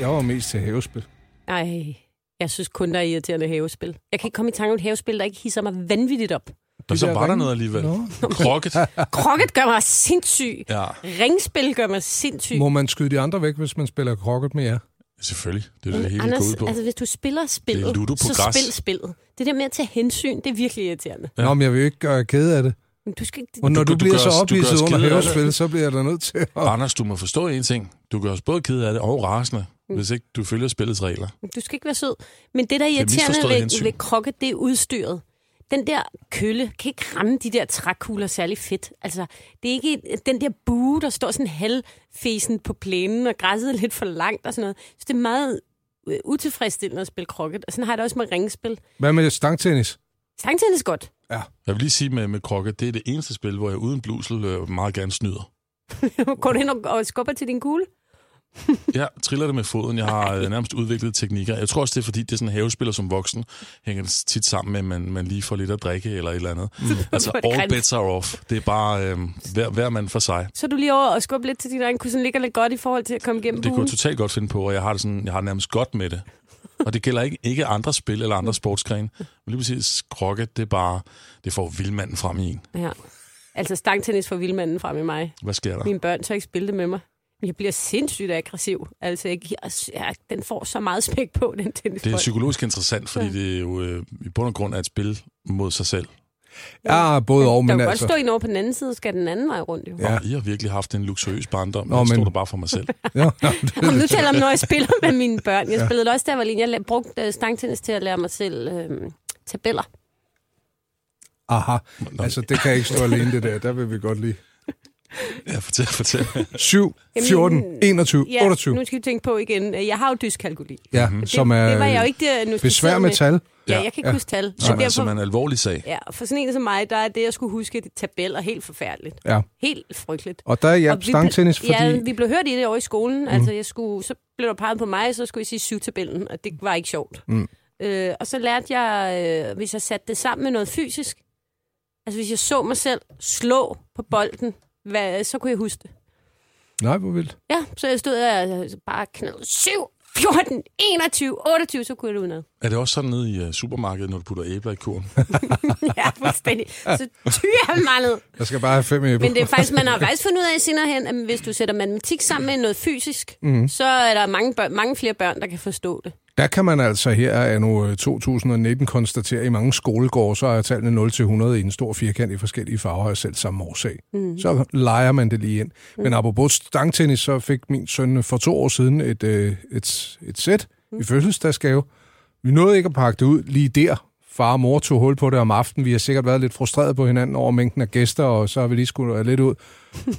Speaker 2: Jeg var mest til havespil.
Speaker 3: Ej, jeg synes kun, der er irriterende havespil. Jeg kan ikke komme i tanke om et havespil, der ikke hisser mig vanvittigt op.
Speaker 4: Men så
Speaker 2: der
Speaker 4: var der
Speaker 2: ringe-
Speaker 4: noget alligevel.
Speaker 2: Nå.
Speaker 4: Krokket.
Speaker 3: Krokket gør mig sindssyg.
Speaker 4: Ja,
Speaker 3: Ringspil gør mig sindssyg.
Speaker 2: Må man skyde de andre væk, hvis man spiller krokket med jer?
Speaker 4: selvfølgelig. Det er jo det hele, det går ud
Speaker 3: Anders,
Speaker 4: på.
Speaker 3: altså hvis du spiller
Speaker 4: Det er
Speaker 3: spillet,
Speaker 4: ludo på
Speaker 3: så
Speaker 4: græs.
Speaker 3: spil spillet. Det der med at tage hensyn, det er virkelig irriterende.
Speaker 2: Ja. Nå, men jeg vil jo ikke gøre jer kede af det.
Speaker 3: Men du skal,
Speaker 2: Og når
Speaker 4: Du-
Speaker 2: du, du
Speaker 4: du
Speaker 2: bliver
Speaker 4: gør
Speaker 2: så
Speaker 4: os- du gør
Speaker 2: opviset
Speaker 4: os
Speaker 2: under
Speaker 4: kede af det.
Speaker 2: havespil, så bliver jeg da nødt til at...
Speaker 4: Anders, du må forstå en ting. Du gør os både ked af det og rasende, hvis ikke du følger spillets regler.
Speaker 3: Du skal ikke være sød. Men det, der er
Speaker 4: er
Speaker 3: irriterende
Speaker 4: misforstået
Speaker 3: ved,
Speaker 4: hensyn.
Speaker 3: ved krokket, det er udstyret. Den der kølle kan ikke ramme de der trækugler særlig fedt. Altså, det er ikke den der bue, der står sådan halvfesen på plænen, og græsset er lidt for langt og sådan noget. Så det er meget øh, utilfredsstillende at spille krokket. Og sådan har jeg det også med ringspil.
Speaker 2: Hvad med stangtennis?
Speaker 3: Stangtennis er godt.
Speaker 4: Jeg vil lige sige med, med krokket, det er det eneste spil, hvor jeg uden blusel øh, meget gerne snyder.
Speaker 3: Går du hen og, og skubber til din kugle?
Speaker 4: Jeg triller det med foden. Jeg har øh, nærmest udviklet teknikker. Jeg tror også, det er fordi, det er sådan en havespiller som voksen. Hænger det tit sammen med, at man, man lige får lidt at drikke eller et eller andet. Mm. Altså,
Speaker 3: På det
Speaker 4: all
Speaker 3: grænse.
Speaker 4: bets are off. Det er bare øh, hver, hver mand for sig.
Speaker 3: Så er du lige over og skubber lidt til din egen kugle, ligger lidt godt i forhold til at komme igennem
Speaker 4: Det kunne
Speaker 3: buen.
Speaker 4: jeg totalt godt finde på, og jeg har det, sådan, jeg har det nærmest godt med det. Og det gælder ikke, ikke andre spil eller andre sportsgrene. Men lige præcis krokket, det er bare, det får vildmanden frem i en.
Speaker 3: Ja. Altså, stangtennis for vildmanden frem i mig.
Speaker 4: Hvad sker der?
Speaker 3: Mine børn tør ikke spille det med mig. Jeg bliver sindssygt aggressiv. Altså, jeg giver, ja, den får så meget spæk på, den tennisbold.
Speaker 4: Det er psykologisk interessant, fordi det er jo øh, i bund og grund er et spil mod sig selv.
Speaker 2: Ja, både og,
Speaker 3: Der
Speaker 2: men
Speaker 3: kan godt stå
Speaker 2: altså...
Speaker 3: en over på den anden side, og skal den anden vej rundt, jo. Ja.
Speaker 4: Ja. Og I har virkelig haft en luksuriøs barndom,
Speaker 2: Nå,
Speaker 4: men jeg stod
Speaker 2: men-
Speaker 4: der bare for mig selv.
Speaker 2: Ja, ja,
Speaker 3: Om nu
Speaker 2: det,
Speaker 3: taler jeg om, når jeg spiller med mine børn. Jeg spillede det også, da jeg var lille. Jeg la- brugte øh, stangtennis til at lære mig selv øh, tabeller.
Speaker 2: aha, altså det kan ikke stå alene det der. Der vil vi godt lige...
Speaker 4: Ja, fortæl, fortæl.
Speaker 2: 7, 14, 21,
Speaker 3: Ja,
Speaker 2: 28.
Speaker 3: nu skal vi tænke på igen. øh, Jeg har jo dyskalkuli.
Speaker 2: Ja, som er øh,
Speaker 3: det var jeg jo ikke der, nu
Speaker 2: besvær med tal.
Speaker 3: Ja, jeg kan ikke
Speaker 2: Ja.
Speaker 3: huske tal. Så
Speaker 4: Som, er, som altså, er
Speaker 3: derfor,
Speaker 4: en alvorlig sag.
Speaker 3: ja, for sådan en som mig, der er det, jeg skulle huske, det tabeller helt forfærdeligt.
Speaker 2: Ja.
Speaker 3: Helt frygteligt.
Speaker 2: Og der er jeg
Speaker 3: Og vi
Speaker 2: stangtennis,
Speaker 3: blev- Ja,
Speaker 2: fordi...
Speaker 3: vi blev hørt i det over i skolen. Mm. Altså, jeg skulle, så blev der peget på mig, så skulle jeg sige syvtabellen, og det var ikke sjovt.
Speaker 2: Mm.
Speaker 3: Øh, og så lærte jeg, øh, hvis jeg satte det sammen med noget fysisk, altså hvis jeg så mig selv slå på bolden, hvad, så kunne jeg huske det.
Speaker 2: Nej, hvor vildt.
Speaker 3: Ja, så jeg stod og øh, bare knaldede 7, 14, 21, 28, så kunne jeg det udenad.
Speaker 4: Er det også sådan nede i uh, supermarkedet, når du putter æbler i kurven?
Speaker 3: ja, fuldstændig. Så tyrer jeg mig ned.
Speaker 2: Jeg skal bare have fem æbler.
Speaker 3: Men det er faktisk, man har faktisk fundet ud af senere hen, at hvis du sætter matematik sammen med noget fysisk,
Speaker 4: Mhm.
Speaker 3: mm. så er der mange, børn, mange flere børn, der kan forstå det.
Speaker 2: Der kan man altså her af nu 2019 konstatere, at i mange skolegårde, så er tallene 0-100 i en stor firkant i forskellige farver af selv samme årsag.
Speaker 3: Mhm.
Speaker 2: Mm. Så leger man det lige ind. Mm. Men apropos stangtennis, så fik min søn øh, for to år siden et, øh, et, et sæt
Speaker 3: Mhm.
Speaker 2: mm. i fødselsdagsgave. Vi nåede ikke at pakke det ud lige der. Far og mor tog hul på det om aftenen. Vi har sikkert været lidt frustreret på hinanden over mængden af gæster, og så har vi lige skudt lidt ud.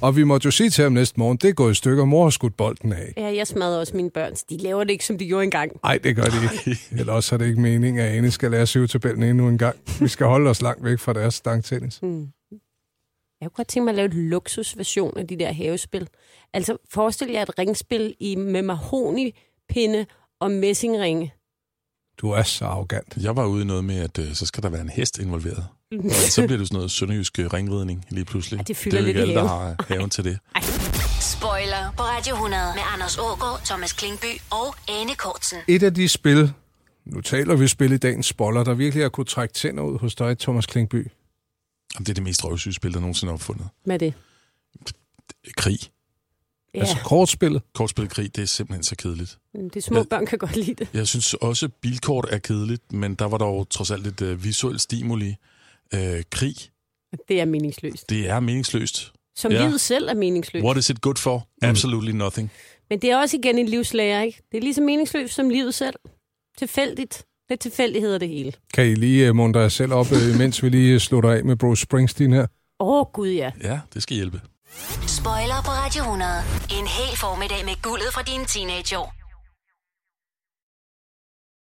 Speaker 2: og vi måtte jo sige til ham næste morgen, det er gået i stykker, mor har skudt bolden af.
Speaker 3: Ja, jeg smadrer også mine børn. så De laver det ikke, som de gjorde engang.
Speaker 2: Nej, det gør det ikke. Ellers er det ikke meningen, at Ane skal lære syvtabellen endnu en gang. Vi skal holde os langt væk fra deres stangtennis.
Speaker 3: Jeg kunne godt tænke mig at lave en luksusversion af de der havespil. Altså, forestil jer et ringspil i, med mahonipinde og messingringe.
Speaker 2: Du er så arrogant.
Speaker 4: Jeg var ude i noget med, at øh, så skal der være en hest involveret. Og så bliver det sådan noget sønderjysk øh, ringridning lige pludselig.
Speaker 3: Ja, det fylder
Speaker 4: det er jo
Speaker 3: lidt
Speaker 4: ikke
Speaker 3: i
Speaker 4: alle, der
Speaker 3: haven.
Speaker 4: har haven til det.
Speaker 1: Spoiler på Radio 100 med Anders Ågaard, Thomas Klingby og Anne Kortsen.
Speaker 2: Et af de spil, nu taler vi spil i dagens spoller, der virkelig har kunne trække tænder ud hos dig, Thomas Klingby.
Speaker 4: Jamen, det er det mest røvsyge spil, der nogensinde er opfundet.
Speaker 3: Med det.
Speaker 4: Krig.
Speaker 3: Ja,
Speaker 2: Altså kortspillet.
Speaker 4: Kortspil krig, det er simpelthen så kedeligt.
Speaker 3: de små børn kan godt lide det.
Speaker 4: Jeg synes også, bilkort er kedeligt, men der var dog trods alt lidt øh, visuel stimuli. Øh, krig,
Speaker 3: Det er meningsløst.
Speaker 4: det er meningsløst.
Speaker 3: Som
Speaker 4: Ja.
Speaker 3: livet selv er meningsløst.
Speaker 4: What is it good for? Absolutely nothing.
Speaker 3: Men det er også igen en livslærer, ikke? Det er lige så meningsløst som livet selv. Tilfældigt. Lidt tilfældigheder det hele.
Speaker 2: Kan I lige uh, muntre jer selv op, uh, mens vi lige øh, slutter af med Bruce Springsteen her?
Speaker 3: Åh, oh, gud ja.
Speaker 4: Ja, det skal hjælpe.
Speaker 1: Spoiler på Radio 100. En hel formiddag med guldet fra dine teenageår.